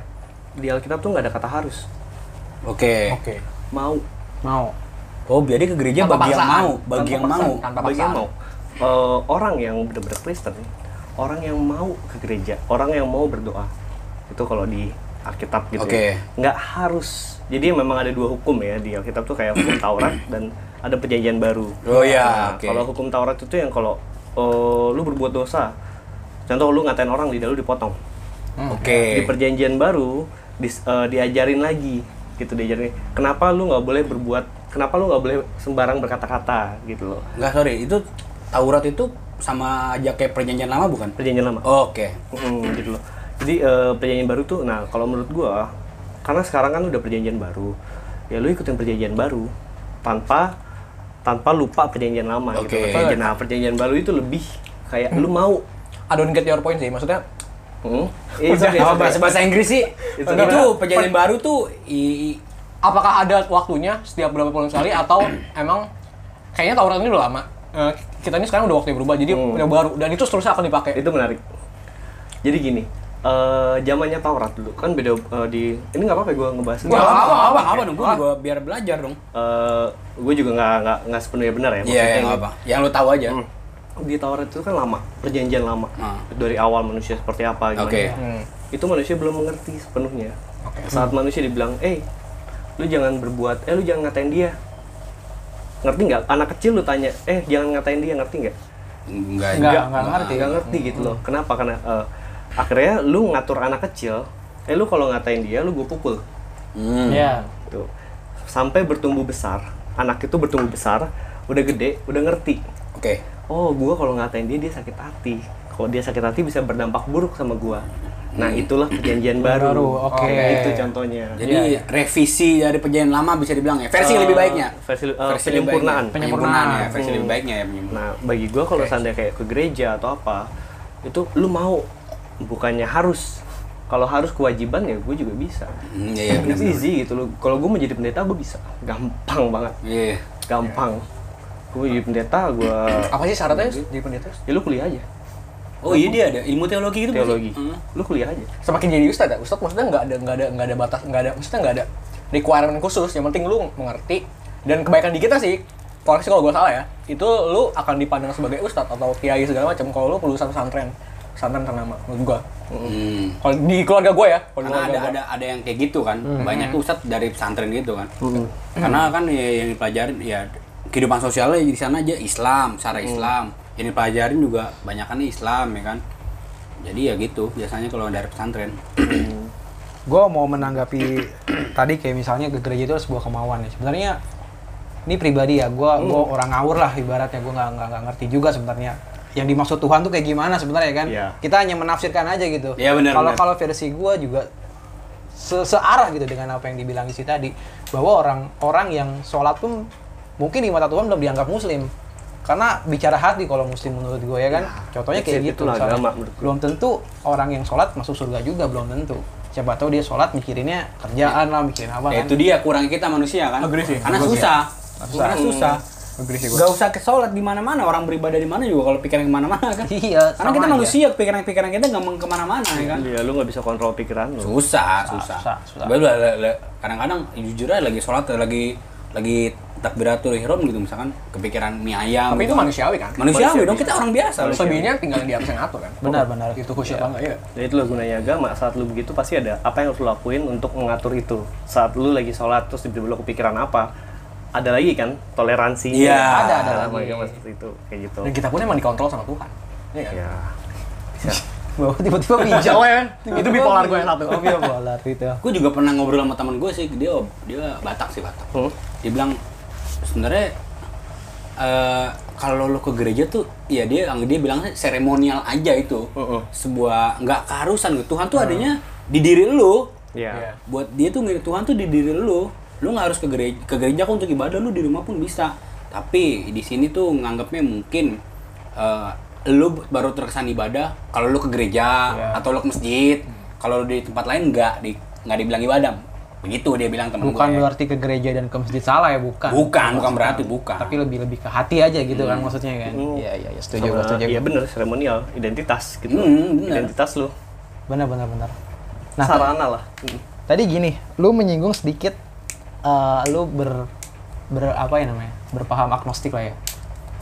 Speaker 4: Di Alkitab tuh nggak ada kata harus.
Speaker 3: Oke.
Speaker 1: oke
Speaker 4: Mau.
Speaker 2: Mau.
Speaker 3: Oh, jadi ke gereja
Speaker 1: Tanpa
Speaker 3: bagi yang
Speaker 1: paksaan.
Speaker 3: mau, bagi
Speaker 4: Tanpa
Speaker 3: yang
Speaker 4: paksaan,
Speaker 3: mau.
Speaker 1: Tanpa
Speaker 4: bagi yang
Speaker 1: paksaan.
Speaker 4: mau. Eh, orang yang benar-benar Kristen, orang yang mau ke gereja, orang yang mau berdoa, itu kalau di Alkitab gitu.
Speaker 3: Oke.
Speaker 4: ya. Nggak harus. Jadi memang ada dua hukum ya di Alkitab tuh kayak hukum Taurat dan ada perjanjian baru. Nah,
Speaker 3: Oh iya, oke.
Speaker 4: Kalau hukum Taurat itu yang kalau eh, lu berbuat dosa, contoh lu ngatain orang lidah lu dipotong.
Speaker 3: Oke.
Speaker 4: Di perjanjian baru dis- eh, diajarin lagi gitu diajarin kenapa lu nggak boleh berbuat kenapa lu nggak boleh sembarang berkata-kata gitu loh
Speaker 3: Enggak, sorry. Itu Taurat itu sama aja kayak perjanjian lama bukan?
Speaker 4: perjanjian lama
Speaker 3: Oke.
Speaker 4: Mm, gitu loh. Jadi eh, perjanjian baru tuh, nah kalau menurut gua, karena sekarang kan udah perjanjian baru, ya lu ikutin perjanjian baru tanpa tanpa lupa perjanjian lama gitu.
Speaker 3: Oke.
Speaker 4: Perjanjian- Nah perjanjian baru itu lebih kayak lu mau.
Speaker 1: I don't get your point sih maksudnya
Speaker 4: Hmm? Eh, it's okay, it's
Speaker 3: Apa
Speaker 4: okay.
Speaker 3: bahasa bahasa Inggris sih?
Speaker 4: It's
Speaker 3: itu
Speaker 4: okay.
Speaker 3: perjanjian baru tuh i, i-
Speaker 1: apakah ada waktunya setiap berapa bulan sekali
Speaker 3: <clears throat>
Speaker 1: atau emang kayaknya Taurat ini udah lama Eh, kita ini sekarang udah waktunya berubah jadi
Speaker 4: Hmm.
Speaker 1: udah baru dan itu seterusnya akan dipakai
Speaker 4: Itu menarik. Jadi gini, eh, zamannya Taurat dulu kan beda eh, di ini nggak apa-apa gua ngebahas ini.
Speaker 1: Nggak
Speaker 3: apa apa apa,
Speaker 1: apa,
Speaker 3: apa dong? Gua, gua biar belajar dong.
Speaker 4: gue Eh, juga nggak nggak nggak sepenuhnya benar ya.
Speaker 3: Iya,
Speaker 4: maksudnya
Speaker 3: yang
Speaker 4: ini.
Speaker 3: apa? Yang lu tahu aja.
Speaker 4: di Taurat itu kan lama, perjanjian lama.
Speaker 3: Ah.
Speaker 4: Dari awal manusia seperti apa gimana.
Speaker 3: Oke.
Speaker 1: Hmm.
Speaker 4: Itu manusia belum mengerti sepenuhnya. Saat manusia dibilang, "Eh, lu jangan berbuat, eh lu jangan ngatain dia." Ngerti nggak? Anak kecil lu tanya, "Eh, jangan ngatain dia." Ngerti nggak?
Speaker 3: Enggak.
Speaker 2: Nggak,
Speaker 1: iya.
Speaker 2: nggak ngerti. Hmm.
Speaker 4: Nggak ngerti gitu loh. Kenapa? Karena eh, akhirnya lu ngatur anak kecil, "Eh, lu kalau ngatain dia, lu gue pukul."
Speaker 3: Hmm.
Speaker 2: Iya.
Speaker 4: Tuh. Sampai bertumbuh besar, anak itu bertumbuh besar, udah gede, udah ngerti
Speaker 3: Oke.
Speaker 4: oh gue kalau ngatain dia dia sakit hati kalau dia sakit hati bisa berdampak buruk sama gue nah itulah perjanjian baru Nah,
Speaker 2: Baru, oke.
Speaker 4: itu contohnya
Speaker 3: Jadi revisi dari perjanjian lama bisa dibilang ya. Versi
Speaker 4: Eh,
Speaker 3: lebih baiknya.
Speaker 4: versi, eh,
Speaker 3: lebih
Speaker 4: penyempurnaan.
Speaker 3: baiknya. Penyempurnaan ya,
Speaker 4: Penyempurnaan. Hmm.
Speaker 3: versi lebih baiknya ya. penyempurnaan.
Speaker 4: nah bagi gue kalau seandainya kayak ke gereja atau apa itu lu mau bukannya harus kalau harus kewajiban ya gue juga bisa
Speaker 3: Hmm, Iya, iya, benar.
Speaker 4: it's easy gitu loh kalau gue menjadi pendeta gue bisa gampang banget
Speaker 3: Iya. iya.
Speaker 4: gampang gue jadi pendeta gue
Speaker 1: Apa sih
Speaker 3: Iya,
Speaker 1: syaratnya jadi pendeta?
Speaker 4: ya lu kuliah aja
Speaker 3: Oh iya dia ada ilmu teologi gitu
Speaker 4: teologi
Speaker 3: Heeh.
Speaker 4: lu kuliah aja
Speaker 1: Semakin jadi ustadz ya? Ustadz maksudnya nggak ada nggak ada nggak ada batas nggak ada maksudnya nggak ada requirement khusus. Yang penting lu mengerti dan kebaikan di kita sih. Koreksi kalau gue salah ya, itu lu akan dipandang sebagai ustadz atau kiai segala macam kalau lu lulusan pesantren pesantren ternama menurut gue.
Speaker 3: Hmm.
Speaker 1: Kalau di keluarga gue ya, kalau di
Speaker 3: Karena
Speaker 1: keluarga
Speaker 3: ada
Speaker 1: gua.
Speaker 3: ada ada yang kayak gitu kan.
Speaker 4: Hmm.
Speaker 3: Banyak tuh ustadz dari pesantren gitu kan. Karena kan ya, yang dipelajarin ya kehidupan sosialnya di sana aja Islam, secara
Speaker 4: Hmm.
Speaker 3: Islam. Yang dipelajarin juga banyak kan Islam ya kan. Jadi ya gitu, biasanya kalau dari pesantren.
Speaker 4: Hmm.
Speaker 2: gue mau menanggapi <clears throat> tadi kayak misalnya ke gereja itu ada sebuah kemauan ya sebenarnya ini pribadi ya gue gua orang ngawur lah ibaratnya gue nggak nggak nggak ngerti juga sebenarnya yang dimaksud Tuhan tuh kayak gimana sebenarnya kan
Speaker 4: Iya.
Speaker 2: kita hanya menafsirkan aja gitu
Speaker 3: Iya, benar,
Speaker 2: kalau
Speaker 3: benar.
Speaker 2: kalau versi gue juga se- searah gitu dengan apa yang dibilang isi tadi bahwa orang orang yang sholat pun mungkin di mata Tuhan belum dianggap muslim karena bicara hati kalau muslim menurut gue ya kan contohnya
Speaker 4: Iya. that's
Speaker 2: kayak
Speaker 4: it,
Speaker 2: gitu
Speaker 4: itulah
Speaker 2: misalnya.
Speaker 4: agama menurut gua.
Speaker 2: belum tentu orang yang sholat masuk surga juga belum tentu siapa tahu dia sholat mikirinnya kerjaan lah mikirin apa
Speaker 3: Ya
Speaker 2: kan
Speaker 3: itu dia kurangnya kita manusia kan.
Speaker 1: Agree sih.
Speaker 3: Karena
Speaker 1: Agree.
Speaker 3: ya. susah. Karena
Speaker 4: Hmm.
Speaker 3: susah.
Speaker 2: Hmm.
Speaker 1: Agree sih gua.
Speaker 3: Gak usah ke sholat di mana-mana, orang beribadah di mana juga kalau pikiran kemana-mana kan.
Speaker 2: iya sama
Speaker 3: Karena kita
Speaker 2: aja.
Speaker 3: manusia, pikiran-pikiran kita nggak mau kemana-mana ya kan.
Speaker 4: ya lu nggak bisa kontrol pikiran lu
Speaker 3: susah susah,
Speaker 2: susah, susah.
Speaker 3: Gua udah- le- le- kadang-kadang jujur aja lagi sholat lagi lagi takbiratul ihram gitu misalkan kepikiran mie ayam
Speaker 1: Tapi
Speaker 3: gitu
Speaker 1: itu
Speaker 3: kan.
Speaker 1: manusiawi kan?
Speaker 3: manusiawi dong kita orang biasa loh
Speaker 1: Selebihnya tinggal di atas yang ngatur kan?
Speaker 2: Benar, benar.
Speaker 1: Itu
Speaker 3: Iya.
Speaker 1: khusyuk banget ya.
Speaker 4: Jadi itu loh gunanya agama, saat lu begitu pasti ada apa yang harus lu lakuin untuk mengatur itu. Saat lu lagi sholat terus tiba-tiba lu kepikiran apa, ada lagi kan toleransinya.
Speaker 3: Iya.
Speaker 2: Ada, ada
Speaker 4: Dalam
Speaker 2: lagi.
Speaker 4: agama seperti itu, kayak gitu.
Speaker 1: Dan kita pun emang dikontrol sama Tuhan. Iya kan?
Speaker 4: Ya.
Speaker 2: bahwa
Speaker 1: <laughs>
Speaker 2: tiba-tiba bijak
Speaker 1: Jauh ya kan? Itu bipolar gue yang satu. Iya.
Speaker 2: oh bipolar gitu
Speaker 3: gue juga pernah ngobrol sama teman gue sih dia dia batak sih batak
Speaker 4: Hmm.
Speaker 3: dia bilang sebenarnya eh, kalau lo ke gereja tuh ya dia dia bilang seremonial aja itu
Speaker 4: Mm-mm.
Speaker 3: sebuah nggak keharusan gitu Tuhan tuh adanya di diri lo
Speaker 4: Ya.
Speaker 1: Iya.
Speaker 3: buat dia tuh ngiri Tuhan tuh di diri lu lu nggak harus ke gereja ke gereja kok untuk ibadah lu di rumah pun bisa tapi di sini tuh nganggapnya mungkin eh, lu baru terkesan ibadah kalau lu ke gereja atau lu ke masjid kalau lu di tempat lain nggak di nggak dibilang ibadah begitu dia bilang teman
Speaker 1: Iya.
Speaker 2: bukan
Speaker 3: gue
Speaker 2: berarti ke gereja dan ke masjid salah ya bukan
Speaker 3: bukan bukan berarti bukan
Speaker 2: tapi lebih lebih ke hati aja gitu
Speaker 1: Hmm.
Speaker 2: kan maksudnya kan iya iya ya, setuju gua,
Speaker 4: Sama-
Speaker 2: setuju
Speaker 4: Iya bener, seremonial, identitas gitu.
Speaker 3: Hmm, bener.
Speaker 4: identitas lu.
Speaker 2: benar benar benar Nah.
Speaker 4: Sarana lah. Hmm.
Speaker 2: tadi gini lu menyinggung sedikit eh, lu ber ber apa ya namanya berpaham agnostik lah ya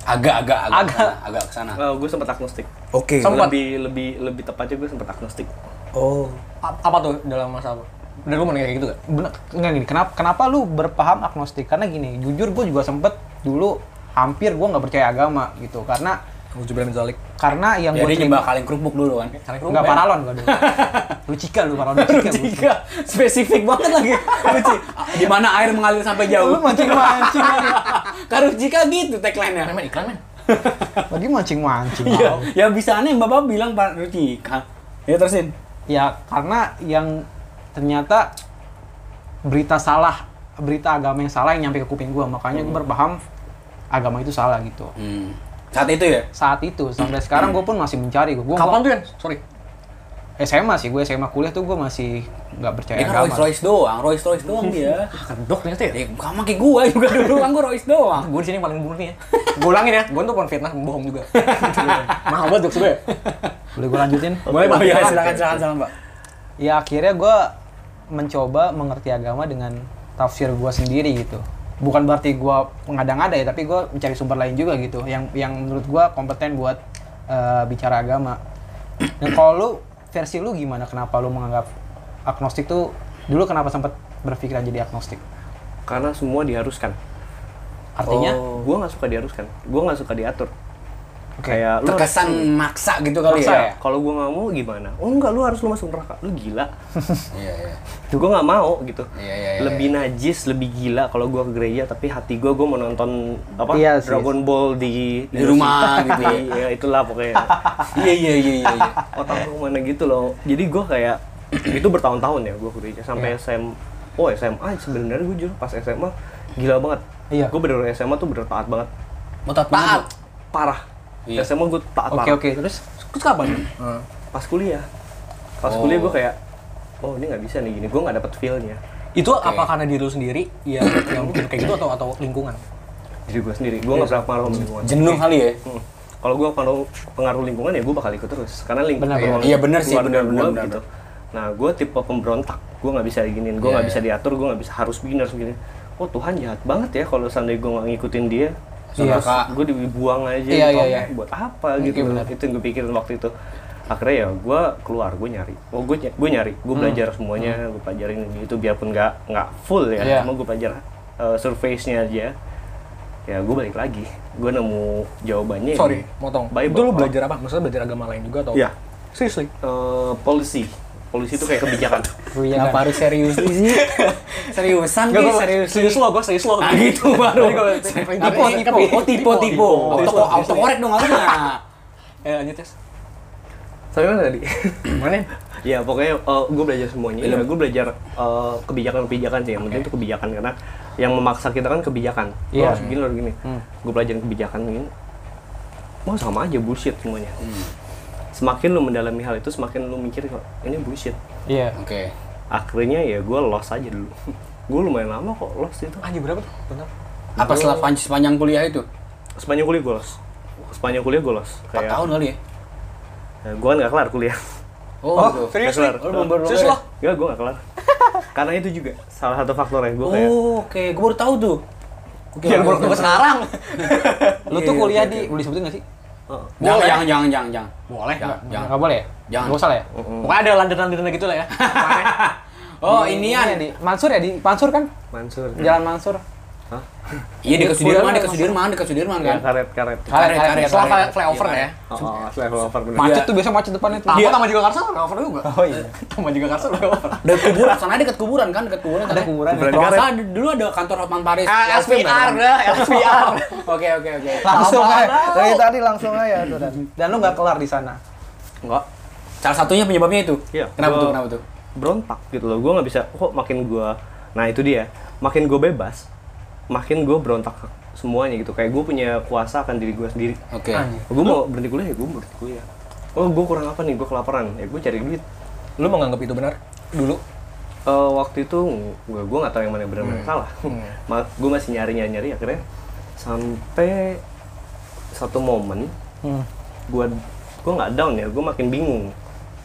Speaker 3: agak-agak
Speaker 2: Agak.
Speaker 3: agak agak ke sana
Speaker 4: Oh, gue sempat agnostik.
Speaker 3: Nah. oke
Speaker 1: Sempat.
Speaker 4: Lebih lebih lebih tepatnya gue sempat agnostik.
Speaker 3: oh
Speaker 1: A- Apa tuh dalam masa apa? Dan lu mau nanya kayak gitu gak?
Speaker 2: bener enggak gini kenapa kenapa lu berpaham agnostik karena gini jujur gue juga sempet dulu hampir gue nggak percaya agama gitu karena
Speaker 1: Ujubilah min zalik.
Speaker 2: karena yang
Speaker 3: ya
Speaker 2: gue
Speaker 3: dia nyembah kaleng kerupuk dulu kan
Speaker 2: nggak paralon gue dulu lucika lu paralon lucika gua.
Speaker 3: Tiga, spesifik banget lagi. Lucu. Di mana air mengalir sampai
Speaker 2: lu
Speaker 3: jauh.
Speaker 2: mancing mancing
Speaker 3: Karena jika gitu tagline-nya.
Speaker 1: Emang iklan men?
Speaker 2: lagi mancing mancing
Speaker 3: Iya, ya bisa aneh Bapak bilang Pak Rujika. Ya terusin.
Speaker 2: ya karena yang ternyata berita salah berita agama yang salah yang nyampe ke kuping gue makanya gue berpaham agama itu salah gitu
Speaker 3: Saat itu ya.
Speaker 2: saat itu sampai sekarang gue pun masih mencari gue
Speaker 1: Kapan tuh kan? Sorry.
Speaker 2: SMA sih gue SMA kuliah tuh gue masih nggak percaya
Speaker 3: Dia kan
Speaker 2: agama
Speaker 3: Rolls Royce doang, Rolls Royce doang dia.
Speaker 1: Kedok ternyata ya?
Speaker 3: Ya sama kayak gua juga dulu kan gua Rolls doang.
Speaker 1: Gue di sini yang paling murni ya. Gue ulangin ya, gue tuh bukan fitnah, bohong juga. <laughs> Mahal banget jokes gue.
Speaker 2: boleh gue lanjutin
Speaker 1: <laughs> Boleh Pak?
Speaker 3: Oh, iya,
Speaker 1: Silakan.
Speaker 3: silakan silakan silakan, Pak.
Speaker 2: ya akhirnya gue mencoba mengerti agama dengan tafsir gue sendiri gitu bukan berarti gue mengada-ngada ya tapi gue mencari sumber lain juga gitu yang yang menurut gue kompeten buat eh, bicara agama dan kalau lu versi lu gimana kenapa lu menganggap agnostik tuh dulu kenapa sempat berpikiran jadi agnostik
Speaker 4: Karena semua diharuskan.
Speaker 2: artinya
Speaker 4: Gue nggak suka diharuskan. Gue nggak suka diatur.
Speaker 1: Oh,
Speaker 2: Oke.
Speaker 4: Kayak lu harus-
Speaker 3: Terkesan maksa gitu kali
Speaker 4: Maksa ya?
Speaker 3: ya.
Speaker 4: Kalau gue nggak mau gimana? Oh enggak, lu harus lu masuk neraka. Lu gila. <laughs>
Speaker 3: Iya, iya.
Speaker 4: gue nggak mau gitu
Speaker 3: Iya, iya, iya,
Speaker 4: lebih najis lebih gila kalau gue ke gereja tapi hati gue gue mau nonton apa
Speaker 2: Iya sih.
Speaker 4: Dragon Ball di
Speaker 3: Di
Speaker 4: <laughs>
Speaker 3: rumah gitu ya.
Speaker 4: Di- ya itulah pokoknya
Speaker 3: <laughs> Iya, iya, iya, iya. iya.
Speaker 4: otak gue mana gitu loh jadi gue kayak <clears throat> itu bertahun-tahun ya gue ke gereja sampai
Speaker 3: Iya.
Speaker 4: SM oh SMA sebenarnya gue jujur pas SMA gila banget
Speaker 2: Iya.
Speaker 4: gue bener-bener SMA tuh bener taat banget
Speaker 1: Botat
Speaker 3: Taat.
Speaker 4: parah
Speaker 3: Iya.
Speaker 4: SMA gue taat
Speaker 2: oke
Speaker 4: parah
Speaker 2: oke terus
Speaker 1: Terus kapan?
Speaker 4: pas kuliah Pas kuliah gue kayak, oh ini nggak bisa nih gini, gue nggak dapet feel-nya.
Speaker 1: Itu apa karena diri lu sendiri yang yang bikin kayak gitu atau atau lingkungan?
Speaker 4: Diri gue sendiri,
Speaker 3: Iya.
Speaker 4: gue nggak pernah pengaruh sama lingkungan.
Speaker 3: Jenuh kali ya.
Speaker 4: Hmm. Kalau gue pengaruh, pengaruh lingkungan ya gue bakal ikut terus, karena lingkungan
Speaker 2: Benar,
Speaker 4: ruang-
Speaker 3: iya. Iya, benar sih,
Speaker 4: keluarga
Speaker 3: benar,
Speaker 4: gua
Speaker 3: benar,
Speaker 4: gitu. Nah gue tipe pemberontak, gue nggak bisa diginin, gue
Speaker 3: Iya,
Speaker 4: nggak
Speaker 3: iya.
Speaker 4: bisa diatur, gue nggak bisa harus begini harus begini. Oh Tuhan jahat banget ya kalau seandainya gue nggak ngikutin dia,
Speaker 3: Iya,
Speaker 4: terus
Speaker 3: Kak.
Speaker 4: gue dibuang aja
Speaker 2: Iya,
Speaker 4: gitu.
Speaker 2: iya, iya.
Speaker 4: buat apa gitu
Speaker 2: benar.
Speaker 4: itu yang gue pikirin waktu itu akhirnya ya gue keluar gue nyari oh gue ny- gue nyari
Speaker 1: Hmm.
Speaker 4: gue belajar semuanya gue pelajarin ini itu biarpun nggak nggak full ya
Speaker 2: Iya.
Speaker 4: cuma gue belajar uh, surface-nya aja ya gue balik lagi gue nemu jawabannya
Speaker 1: Sorry,
Speaker 4: ini.
Speaker 1: motong.
Speaker 4: Bible.
Speaker 1: Itu lu belajar apa? Maksudnya belajar agama lain juga atau?
Speaker 4: Iya.
Speaker 1: Seriously.
Speaker 4: Eh, policy policy itu kayak kebijakan
Speaker 1: <laughs>
Speaker 2: Iya,
Speaker 3: Kenapa harus serius sih?
Speaker 1: kan?
Speaker 3: Seriusan
Speaker 1: Enggak,
Speaker 3: nih,
Speaker 1: gue
Speaker 3: serius.
Speaker 1: serius, serius lo, gue serius lo.
Speaker 3: Nah gitu baru. Apa
Speaker 1: Tapi-
Speaker 3: tipe? Oh tipe tipe. Auto auto korek dong aku mah.
Speaker 1: Eh, lanjut tes.
Speaker 4: sampai mana tadi
Speaker 1: Mana?
Speaker 4: ya pokoknya gue belajar semuanya ya, gue belajar eh, kebijakan-kebijakan sih yang penting itu kebijakan karena yang memaksa kita kan kebijakan Lo
Speaker 2: Iya.
Speaker 4: harus begini lo harus begini gue pelajarin kebijakan begini mau sama aja bullshit semuanya semakin lu mendalami hal itu semakin lu mikir kok ini bullshit
Speaker 2: iya.
Speaker 3: Oke.
Speaker 4: akhirnya ya gue lost aja dulu <laughs> gue lumayan lama kok lost itu
Speaker 1: Anjir Ah, berapa tuh? Bentar.
Speaker 3: Apa setelah sepanjang kuliah itu?
Speaker 4: sepanjang kuliah gue lost sepanjang kuliah gue lost
Speaker 3: 4
Speaker 4: kayak
Speaker 3: tahun kali ya?
Speaker 4: gue kan gak kelar kuliah <laughs>
Speaker 1: Oh,
Speaker 3: gitu.
Speaker 1: serius
Speaker 4: Kelar.
Speaker 1: nih?
Speaker 4: Lu belum-
Speaker 1: Serius lo?
Speaker 4: Enggak, gue gak kelar karena itu juga salah satu faktornya gue kayak
Speaker 3: Oh, oke. Gue baru tahu tuh. Oke,
Speaker 1: Jangan baru
Speaker 3: oke,
Speaker 1: ke
Speaker 3: oke. <laughs>
Speaker 1: sekarang.
Speaker 2: Lu
Speaker 1: Iya,
Speaker 2: tuh kuliah di, boleh sebutin nggak sih?
Speaker 4: "Oh,
Speaker 3: Jangan, jangan, jangan, jangan, jangan.
Speaker 1: Boleh.
Speaker 3: Jangan, jangan.
Speaker 2: Nggak boleh ya?
Speaker 3: Jangan.
Speaker 2: Nggak usah lah ya?
Speaker 1: Pokoknya ada landasan-landasan gitu lah ya.
Speaker 3: Oh, ini
Speaker 2: Iya, di Mansur ya? Di Mansur kan?
Speaker 4: Mansur
Speaker 2: Jalan Mansur.
Speaker 4: Hah?
Speaker 3: Iya dekat Sudirman, dekat Sudirman, dekat Sudirman kan.
Speaker 4: Yang Iya, karet karet.
Speaker 3: Karet, karet,
Speaker 1: Setelah
Speaker 3: karet.
Speaker 1: flyover flyover
Speaker 3: Iya,
Speaker 1: ya.
Speaker 4: Oh, oh, level over bener.
Speaker 2: Macet
Speaker 3: Iya.
Speaker 2: tuh biasa macet depannya tuh.
Speaker 1: Tamu sama juga Karsa flyover
Speaker 3: <laughs>
Speaker 1: juga.
Speaker 2: Oh iya.
Speaker 1: Sama juga Karsa flyover.
Speaker 3: Dekat kuburan, sana dekat kuburan kan, dekat kuburan.
Speaker 2: Ada kuburan. ya?
Speaker 4: Kuburan
Speaker 3: Kalau
Speaker 4: karet.
Speaker 3: salah dulu ada kantor Hotman Paris. kan?
Speaker 1: LSPR dah, LSPR.
Speaker 3: <laughs> Oke, oke, oke.
Speaker 2: Langsung
Speaker 1: Apa
Speaker 2: aja.
Speaker 1: mau?
Speaker 2: Dari tadi langsung aja tuh dan. Dan lu nggak kelar di sana.
Speaker 4: Enggak.
Speaker 3: Salah satunya penyebabnya itu.
Speaker 4: Iya.
Speaker 3: Kenapa
Speaker 4: Gua
Speaker 3: tuh? Kenapa tuh?
Speaker 4: Berontak gitu loh. Gue nggak bisa. Kok makin gue. Nah itu dia. Makin gue bebas, makin gue berontak semuanya gitu. Kayak gue punya kuasa akan diri gue sendiri.
Speaker 3: Oke.
Speaker 4: Gue mau berhenti kuliah ya gue berhenti kuliah. Oh gue kurang apa nih? Gue kelaparan. Ya gue cari duit.
Speaker 1: Lu menganggap itu benar dulu?
Speaker 4: Eh, waktu itu gue gue nggak tahu yang mana yang benar mana yang salah. <laughs> gue masih nyari nyari nyari akhirnya sampai satu momen gue gue nggak down ya gue makin bingung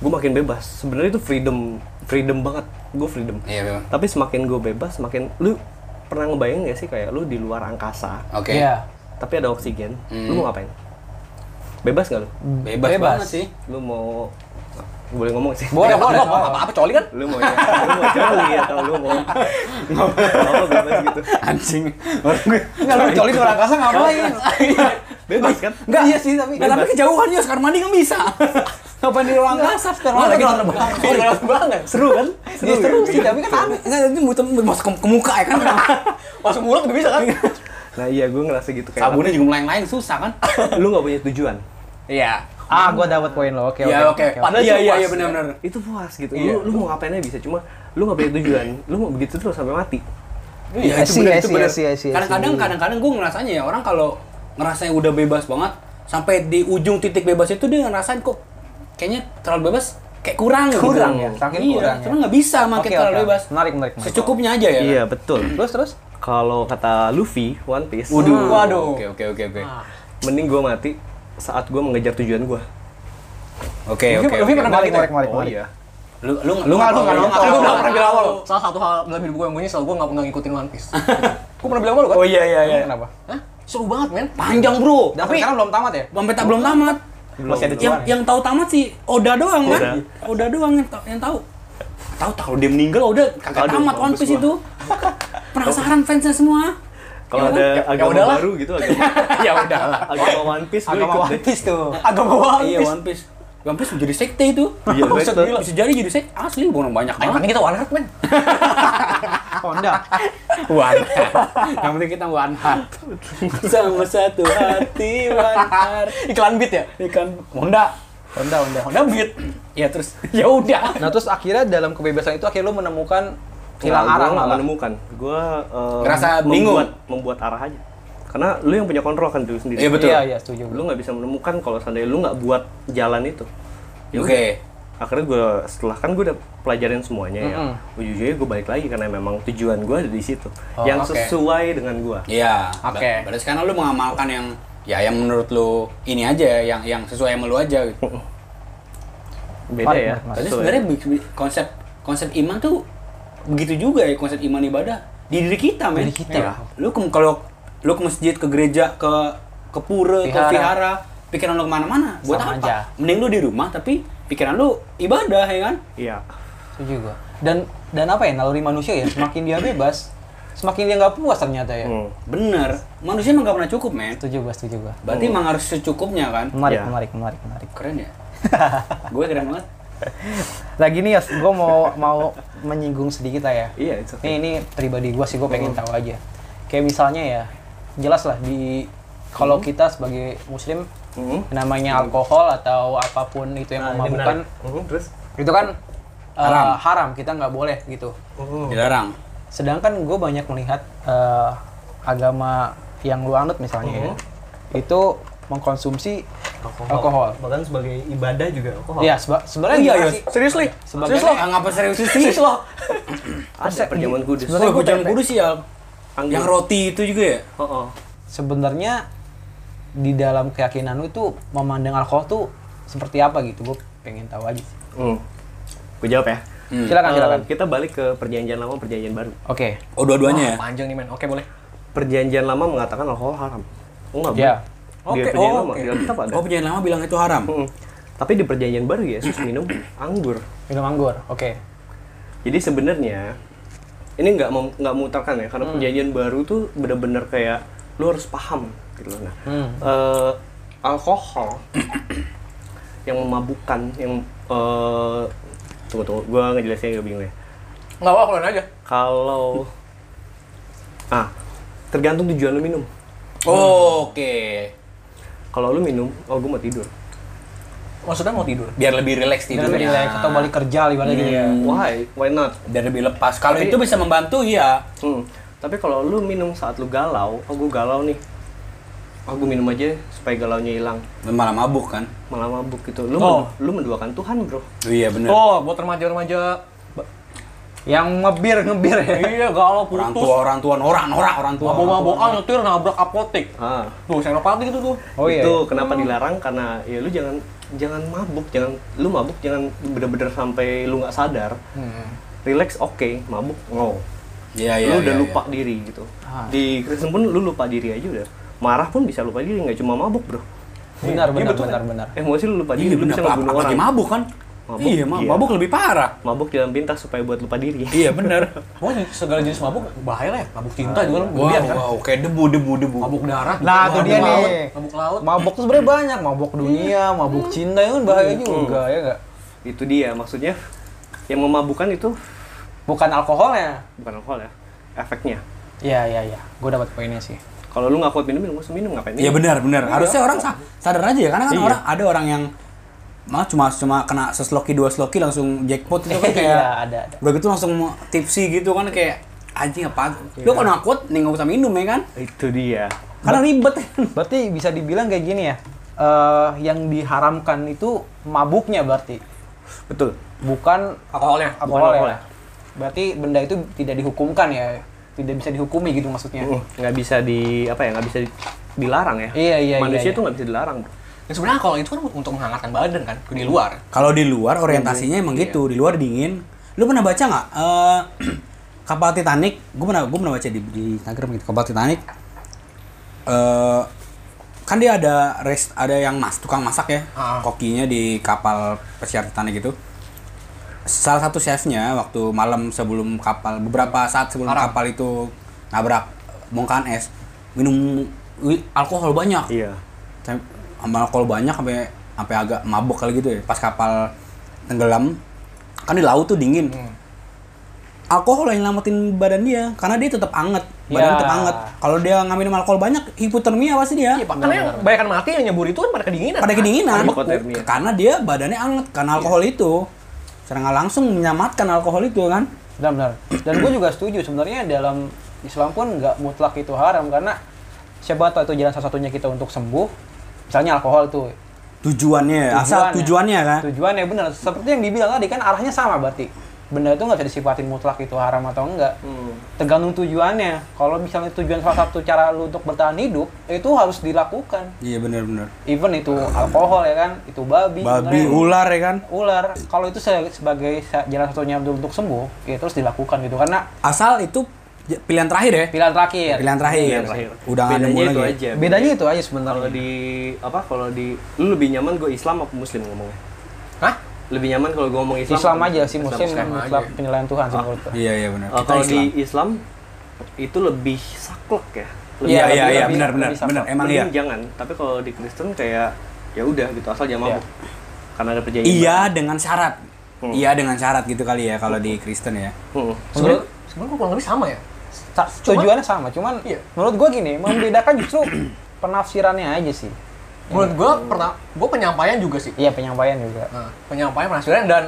Speaker 4: gue makin bebas sebenarnya itu freedom freedom banget gue freedom
Speaker 3: Iya, memang.
Speaker 4: tapi semakin gue bebas semakin lu pernah ngebayang gak sih kayak lu di luar angkasa
Speaker 3: Oke.
Speaker 2: Iya.
Speaker 4: tapi ada oksigen
Speaker 3: Hmm.
Speaker 4: lu mau ngapain bebas nggak lu
Speaker 3: Bebas,
Speaker 2: Bebas.
Speaker 3: banget sih.
Speaker 4: lu mau boleh ngomong sih
Speaker 1: Boleh, boleh. Apa-apa, coli kan?
Speaker 4: lu mau ya? lu mau jolly atau lu mau mau bebas gitu
Speaker 3: Anjing. Orang gue.
Speaker 2: Enggak lu colin orang kasa ngapain?
Speaker 4: bebas kan
Speaker 3: Enggak.
Speaker 2: Iya sih, tapi-
Speaker 3: Nggak, tapi kejauhan ya Oscar Mandi
Speaker 2: kan
Speaker 3: nggak <laughs> bisa.
Speaker 2: Ngapain di ruang kasa?
Speaker 3: Mana
Speaker 2: Sekarang lagi
Speaker 3: kita-
Speaker 1: Berat banget.
Speaker 4: seru kan
Speaker 2: gitu. Iya, seru sih, tapi kan aneh.
Speaker 3: Nggak, itu muter masuk ke, ke muka <laughs> ya kan.
Speaker 1: Masuk mulut juga bisa
Speaker 2: <laughs>
Speaker 1: kan?
Speaker 4: nah iya gue ngerasa gitu kayak
Speaker 3: Sabunnya juga melayang-layang susah kan.
Speaker 4: lu nggak punya tujuan
Speaker 1: Iya.
Speaker 2: Ah, gua dapat poin lo. Oke,
Speaker 3: Iya, oke.
Speaker 1: Padahal
Speaker 3: Iya,
Speaker 1: itu
Speaker 3: iya,
Speaker 1: puas.
Speaker 3: iya benar-benar.
Speaker 4: kan? itu puas gitu
Speaker 1: Iya.
Speaker 4: lu, lu mau ngapain aja bisa cuma lu nggak punya tujuan lu mau begitu terus sampai mati
Speaker 2: Iya,
Speaker 4: itu bener, itu bener.
Speaker 3: kadang-kadang kadang-kadang gue ngerasanya ya orang kalau ngerasanya udah bebas banget sampai di ujung titik bebas itu dia ngerasain kok kayaknya terlalu bebas kayak kurang gitu.
Speaker 2: Kurang ya, saking
Speaker 3: iya,
Speaker 2: kurang ya.
Speaker 3: cuma nggak bisa makin
Speaker 2: Oke,
Speaker 3: terlalu
Speaker 2: oke.
Speaker 3: bebas
Speaker 2: Menarik, menarik, menarik.
Speaker 3: secukupnya aja ya
Speaker 4: iya betul
Speaker 2: Terus terus?
Speaker 4: kalau kata Luffy One Piece
Speaker 3: waduh
Speaker 1: Hmm. Waduh.
Speaker 3: oke oke oke oke
Speaker 4: Ah. mending gue mati saat gue mengejar tujuan gue
Speaker 3: oke
Speaker 1: Luffy-
Speaker 3: oke
Speaker 1: Luffy
Speaker 3: oke.
Speaker 1: pernah
Speaker 2: Menarik,
Speaker 1: balik ya?
Speaker 2: menarik, menarik.
Speaker 4: oh
Speaker 2: menarik.
Speaker 4: iya
Speaker 3: lu lu
Speaker 2: Lu nggak- lu nggak nonton.
Speaker 1: Kan gue
Speaker 2: Oh.
Speaker 1: bilang pernah bilang sama lo, salah satu hal dalam hidup gue yang gue nyesel, gue gak pernah ngikutin One Piece. gue pernah bilang sama lo kan?
Speaker 3: oh iya iya iya
Speaker 2: Kenapa?
Speaker 1: Hah? Seru banget men.
Speaker 3: panjang bro
Speaker 2: Dan sekarang belum tamat ya?
Speaker 3: sampai tak belum tamat
Speaker 2: Masih ada
Speaker 3: yang
Speaker 2: celah.
Speaker 3: yang tahu tamat sih Oda doang kan Oda doang yang ta- yang tahu tahu tak kalau dia meninggal Oda kagak
Speaker 4: Aduh,
Speaker 3: tamat One
Speaker 4: mampus
Speaker 3: Piece
Speaker 4: gua.
Speaker 3: itu penasaran fansnya semua
Speaker 4: kalau
Speaker 3: Ya
Speaker 4: ada
Speaker 3: kan?
Speaker 1: ya
Speaker 4: agama
Speaker 1: udahlah.
Speaker 4: baru gitu agama
Speaker 3: <laughs> ya udahlah
Speaker 4: Eh, agama One Piece gue
Speaker 2: Agama
Speaker 4: ikut
Speaker 2: One
Speaker 4: deh
Speaker 2: Piece tuh.
Speaker 1: Agama One
Speaker 3: Iya
Speaker 1: Piece.
Speaker 3: One Piece. One Piece menjadi sekte itu.
Speaker 4: Iya,
Speaker 3: <laughs> Buset,
Speaker 4: betul.
Speaker 3: gila. Bisa jadi jadi sekte. Asli orang banyak
Speaker 1: Yang
Speaker 3: banget.
Speaker 1: penting kita One Heart men.
Speaker 2: Honda.
Speaker 3: One Heart. Yang penting kita One Heart. <laughs> Sama satu hati One Heart.
Speaker 1: Iklan beat ya?
Speaker 3: Ikan Honda.
Speaker 2: Honda, Honda.
Speaker 1: Honda beat.
Speaker 3: Ya terus <laughs> ya udah.
Speaker 2: Nah, terus akhirnya dalam kebebasan itu akhirnya lu menemukan hilang
Speaker 4: Nah, gua
Speaker 2: arah
Speaker 4: nggak
Speaker 2: malah.
Speaker 4: menemukan gue
Speaker 3: Ngerasa bingung.
Speaker 4: membuat, membuat arah aja karena lu yang punya kontrol kan diri sendiri
Speaker 3: Iya, betul.
Speaker 2: Iya, iya, setuju.
Speaker 4: lu nggak bisa menemukan kalau seandainya lu nggak buat jalan itu Ya
Speaker 3: Oke.
Speaker 4: udah. akhirnya gue setelah kan gue udah pelajarin semuanya ya ujung-ujungnya gue balik lagi karena memang tujuan gue ada di situ
Speaker 1: Oh,
Speaker 4: yang
Speaker 1: oke.
Speaker 4: sesuai dengan gue
Speaker 3: Iya.
Speaker 1: Oke.
Speaker 3: Ber- Berarti sekarang lu mengamalkan yang ya yang menurut lu ini aja yang yang sesuai sama lu aja
Speaker 2: <laughs>
Speaker 3: gitu.
Speaker 2: Partner,
Speaker 4: beda ya
Speaker 2: Mas.
Speaker 3: Berarti
Speaker 4: sesuai.
Speaker 3: sebenarnya bi- bi- konsep konsep iman tuh begitu juga ya konsep iman ibadah di diri kita men.
Speaker 2: Diri kita.
Speaker 3: Iya. Lu ke, kalau lu ke masjid, ke gereja, ke ke pura,
Speaker 2: Vihara.
Speaker 3: ke vihara, pikiran lu kemana-mana. Buat
Speaker 2: Sama
Speaker 3: apa?
Speaker 2: aja.
Speaker 3: Mending lu di rumah tapi pikiran lu ibadah ya kan?
Speaker 4: iya
Speaker 2: Setuju gua. Dan dan apa ya naluri manusia ya semakin dia bebas, semakin dia nggak puas ternyata
Speaker 3: Iya.
Speaker 2: ya.
Speaker 4: Hmm.
Speaker 3: Bener. Manusia emang gak pernah cukup men.
Speaker 2: Setuju gua, setuju gua.
Speaker 3: Berarti emang harus secukupnya kan?
Speaker 2: Menarik,
Speaker 4: Ya.
Speaker 2: menarik, menarik, menarik.
Speaker 3: Keren
Speaker 2: <laughs>
Speaker 3: ya. Gue keren banget.
Speaker 2: Lagi nih Yos, gua mau mau menyinggung sedikit lah ya.
Speaker 4: iya itu
Speaker 2: Nih ini pribadi gua sih gua
Speaker 4: Hmm.
Speaker 2: pengen tahu aja. Kayak misalnya ya, jelas lah di kalau kita sebagai muslim
Speaker 4: Hmm.
Speaker 2: namanya alkohol atau apapun itu yang
Speaker 4: Nah, ini
Speaker 2: memabukkan
Speaker 4: menarik. Mhm, terus
Speaker 2: itu kan eh,
Speaker 3: Haram.
Speaker 2: haram kita nggak boleh gitu.
Speaker 4: Mhm.
Speaker 3: Dilarang.
Speaker 2: Sedangkan gue banyak melihat eh, agama yang lu anut misalnya ya, itu mengkonsumsi alkohol.
Speaker 4: bahkan sebagai ibadah juga alkohol
Speaker 2: Iya, seba- sebenarnya
Speaker 3: Iya,
Speaker 2: gimana
Speaker 3: Yos.
Speaker 2: sih?
Speaker 4: seriously
Speaker 2: Sebagai
Speaker 3: serius lo? Ah, ngapa serius sih? Serius lo?
Speaker 4: ada perjamuan kudus
Speaker 2: iya. Sebenarnya
Speaker 3: Oh,
Speaker 2: gua
Speaker 3: hujan
Speaker 2: pengen-
Speaker 3: kudus sih ya.
Speaker 4: Anggur.
Speaker 3: Yang roti itu juga ya?
Speaker 4: Oh, oh.
Speaker 2: sebenarnya di dalam keyakinan lu itu memandang alkohol tuh seperti apa gitu? Gue pengen tahu aja. sih.
Speaker 1: Oh.
Speaker 4: Hmm. Gue jawab ya.
Speaker 3: Hmm.
Speaker 2: Silakan,
Speaker 4: Eh,
Speaker 2: silakan.
Speaker 4: kita balik ke perjanjian lama, perjanjian baru.
Speaker 2: Oke.
Speaker 3: Oh, dua-duanya ya?
Speaker 1: Panjang nih men. Oke boleh.
Speaker 4: Perjanjian lama mengatakan alkohol haram. Enggak
Speaker 2: Iya.
Speaker 4: Di
Speaker 1: Oke,
Speaker 4: perjanjian
Speaker 1: oh,
Speaker 4: lama,
Speaker 1: oke.
Speaker 4: di Alkitab ada.
Speaker 3: Oh, penyanyi lama bilang itu haram.
Speaker 4: Mm-mm. Tapi di perjanjian baru Yesus minum anggur.
Speaker 2: Minum anggur. Oke.
Speaker 4: Jadi sebenarnya ini nggak mem- nggak mutarkan ya,
Speaker 2: Hmm.
Speaker 4: karena perjanjian baru tuh bener-bener kayak lu harus paham gitu loh. Nah,
Speaker 2: Hmm.
Speaker 4: eh, alkohol <coughs> yang memabukkan, yang eh, tunggu tunggu, gue ngejelasinnya agak bingung ya.
Speaker 1: Nggak apa-apa keluarin aja.
Speaker 4: Kalau <laughs> ah tergantung tujuan lu minum.
Speaker 3: Oh, Oke.
Speaker 4: Kalau lu minum, oh gue mau tidur.
Speaker 1: Maksudnya mau tidur.
Speaker 3: Biar lebih rileks
Speaker 2: Jangan
Speaker 3: tidurnya.
Speaker 2: relax atau balik kerja ibaratnya gitu.
Speaker 4: Why? Why not?
Speaker 3: Biar lebih lepas. Kalau
Speaker 4: Tapi-
Speaker 3: itu bisa membantu, iya.
Speaker 4: Hmm. Tapi kalau lu minum saat lu galau, oh gue galau nih. Oh gue minum aja supaya galaunya hilang.
Speaker 3: Malah mabuk kan?
Speaker 4: Malah mabuk gitu.
Speaker 1: Oh.
Speaker 4: Lu mendu- lu menduakan Tuhan, Bro.
Speaker 3: Oh, iya bener.
Speaker 1: Oh, buat remaja-remaja.
Speaker 2: Yang ngebir ngebir ya.
Speaker 1: iya, galau
Speaker 3: Orang
Speaker 1: putus.
Speaker 3: tua, orang tua, orang, orang, orang tua.
Speaker 1: Mabok-mabokan nyetir nabrak apotek.
Speaker 4: Ah.
Speaker 1: Tuh, senopati gitu tuh.
Speaker 2: Oh iya.
Speaker 4: Itu kenapa dilarang karena ya lu jangan jangan mabuk, jangan lu mabuk jangan bener-bener sampai lu nggak sadar. Relax oke, mabuk no.
Speaker 3: Iya, iya,
Speaker 4: lu udah
Speaker 3: iya,
Speaker 4: lupa diri gitu. Di Kristen pun lu lupa diri aja udah. Marah pun bisa lupa diri, nggak cuma mabuk, Bro.
Speaker 2: Benar
Speaker 4: Iya,
Speaker 2: benar
Speaker 4: betul.
Speaker 2: benar benar.
Speaker 4: Emosi lu lupa
Speaker 3: Iya,
Speaker 4: diri, lu
Speaker 3: bener.
Speaker 4: bisa
Speaker 3: Apa-
Speaker 4: ngebunuh
Speaker 3: Apalagi
Speaker 4: orang.
Speaker 3: mabuk kan?
Speaker 4: Mabuk,
Speaker 3: Iya, ma-
Speaker 4: iya.
Speaker 3: mabuk lebih parah.
Speaker 4: mabuk dalam pintas supaya buat lupa diri.
Speaker 3: <laughs> Iya, bener.
Speaker 1: Wah, segala jenis mabuk bahaya lah ya. Mabuk cinta juga lu
Speaker 3: Wow,
Speaker 1: berlebihan kan.
Speaker 3: wow, kayak debu, debu, debu.
Speaker 1: Mabuk darah.
Speaker 2: Nah,
Speaker 1: mabuk
Speaker 2: tuh dia
Speaker 1: laut,
Speaker 2: nih.
Speaker 1: Mabuk laut.
Speaker 2: Mabok tuh sebenarnya banyak, mabok dunia, mabok cinta itu kan bahaya juga ya enggak?
Speaker 4: <laughs> Itu dia maksudnya yang memabukkan itu
Speaker 2: Bukan alkoholnya.
Speaker 4: bukan alkohol ya, efeknya.
Speaker 2: Iya, iya, iya. Gue dapat poinnya sih.
Speaker 4: Kalau lu nggak kuat minum, minum usah minum ngapain?
Speaker 3: Iya benar benar. Harusnya orang sa- sadar aja ya karena kan
Speaker 4: Iya.
Speaker 3: orang ada orang yang mah cuma cuma kena sesloki dua sloki langsung jackpot itu kan kayak
Speaker 2: <laughs> Iya, ada, ada.
Speaker 3: udah gitu langsung mau tipsy gitu kan kayak anjing apa lu kalau nggak kuat nih nggak usah minum ya kan
Speaker 4: Itu dia.
Speaker 3: karena ribet
Speaker 2: Berarti bisa dibilang kayak gini ya. eh, yang diharamkan itu mabuknya berarti,
Speaker 4: Betul.
Speaker 2: bukan
Speaker 1: Alkoholnya.
Speaker 2: alkohol
Speaker 4: alkohol ya.
Speaker 2: ya. Berarti benda itu tidak dihukumkan ya, tidak bisa dihukumi gitu maksudnya.
Speaker 4: Uh, Nggak bisa di apa ya? Nggak bisa di- dilarang ya.
Speaker 2: Iya, iya,
Speaker 4: Manusia
Speaker 2: iya,
Speaker 4: tuh nggak bisa dilarang. bro.
Speaker 1: Ya sebenarnya alkohol itu kan untuk menghangatkan badan kan di luar.
Speaker 3: kalau di luar orientasinya emang gitu di luar dingin lu pernah baca nggak eh, <clears throat> kapal Titanic gue pernah gue pernah baca di, di Instagram gitu kapal Titanic eh kan dia ada rest ada yang mas tukang masak ya
Speaker 1: Ah.
Speaker 3: kokinya di kapal pesiar Titanic itu salah satu chefnya waktu malam sebelum kapal beberapa saat sebelum
Speaker 1: Haram.
Speaker 3: kapal itu nabrak bongkahan es minum wi- alkohol banyak
Speaker 4: Iya.
Speaker 3: Sam- sama alkohol banyak sampai sampai agak mabok kali gitu ya pas kapal tenggelam kan di laut tuh dingin alkohol yang nyelamatin badan dia karena dia tetap anget
Speaker 2: Ya.
Speaker 3: badan tetap anget kalau dia nggak minum alkohol banyak hipotermia pasti dia
Speaker 1: Iya, Pak. Karena yang banyak yang mati yang nyebur itu kan pada kedinginan.
Speaker 3: pada kedinginan
Speaker 4: Pada hipotermia.
Speaker 3: Ke- karena dia badannya anget karena alkohol itu secara nggak langsung menyamatkan alkohol itu kan
Speaker 2: Benar-benar. Dan gue juga setuju sebenarnya dalam Islam pun nggak mutlak itu haram karena siapa tahu itu jalan salah satunya kita untuk sembuh. Misalnya alkohol tuh
Speaker 3: tujuannya, asal tujuannya kan.
Speaker 2: Tujuannya benar. ya, Seperti yang dibilang tadi kan arahnya sama berarti. Benda itu nggak bisa disifatin mutlak itu haram atau enggak.
Speaker 4: Hmm.
Speaker 2: Tergantung tujuannya. Kalau misalnya tujuan salah satu cara lu untuk bertahan hidup, itu harus dilakukan.
Speaker 3: Iya benar-benar.
Speaker 2: Even itu alkohol ya kan, itu babi.
Speaker 3: Babi,
Speaker 2: sebenarnya.
Speaker 3: ular ya kan.
Speaker 2: ular. Kalau itu se- sebagai sa- jalan satunya untuk, untuk sembuh, ya terus dilakukan gitu. Karena
Speaker 3: Asal itu j- pilihan terakhir ya.
Speaker 2: pilihan terakhir.
Speaker 3: Pilihan terakhir.
Speaker 4: Iya, terakhir.
Speaker 3: Udah nggak ada
Speaker 4: Bedanya
Speaker 3: mau
Speaker 4: itu
Speaker 3: lagi.
Speaker 4: aja.
Speaker 2: Bedanya itu aja
Speaker 4: Iya, Kalau
Speaker 2: sebenarnya.
Speaker 4: di apa? Kalau di lu lebih nyaman gue Islam apa Muslim ngomongnya?
Speaker 1: Hah?
Speaker 4: Lebih nyaman kalau gue ngomong Islam.
Speaker 2: Islam
Speaker 4: apa
Speaker 2: aja sih
Speaker 4: Islam,
Speaker 2: muslim
Speaker 4: Islam.
Speaker 2: mutlak
Speaker 1: aja.
Speaker 2: penilaian Tuhan sih menurut gue.
Speaker 3: Iya iya benar.
Speaker 4: Eh,
Speaker 3: Kita
Speaker 4: kalau di
Speaker 3: Islam.
Speaker 4: Islam itu lebih saklek ya. Lebih-
Speaker 3: Iya iya
Speaker 2: lebih-
Speaker 3: iya
Speaker 2: lebih-
Speaker 3: benar benar
Speaker 2: lebih sama.
Speaker 3: benar emang iya.
Speaker 4: Mending jangan. Tapi kalau di Kristen kayak ya udah gitu asal jangan
Speaker 2: Iya.
Speaker 4: mabuk. Karena ada perjanjian.
Speaker 3: Iya dengan syarat.
Speaker 4: Hmm.
Speaker 3: Iya dengan syarat gitu kali ya kalau di Kristen ya.
Speaker 4: Hmm.
Speaker 1: Sebenarnya sebenarnya gua kurang lebih sama ya.
Speaker 3: Iya.
Speaker 2: Sa- tujuannya sama, cuman
Speaker 1: Iya.
Speaker 2: menurut gue gini, membedakan justru penafsirannya aja sih.
Speaker 1: Menurut gua pernah gua penyampaian juga sih.
Speaker 2: Iya penyampaian juga.
Speaker 1: Nah, penyampaian penafsiran dan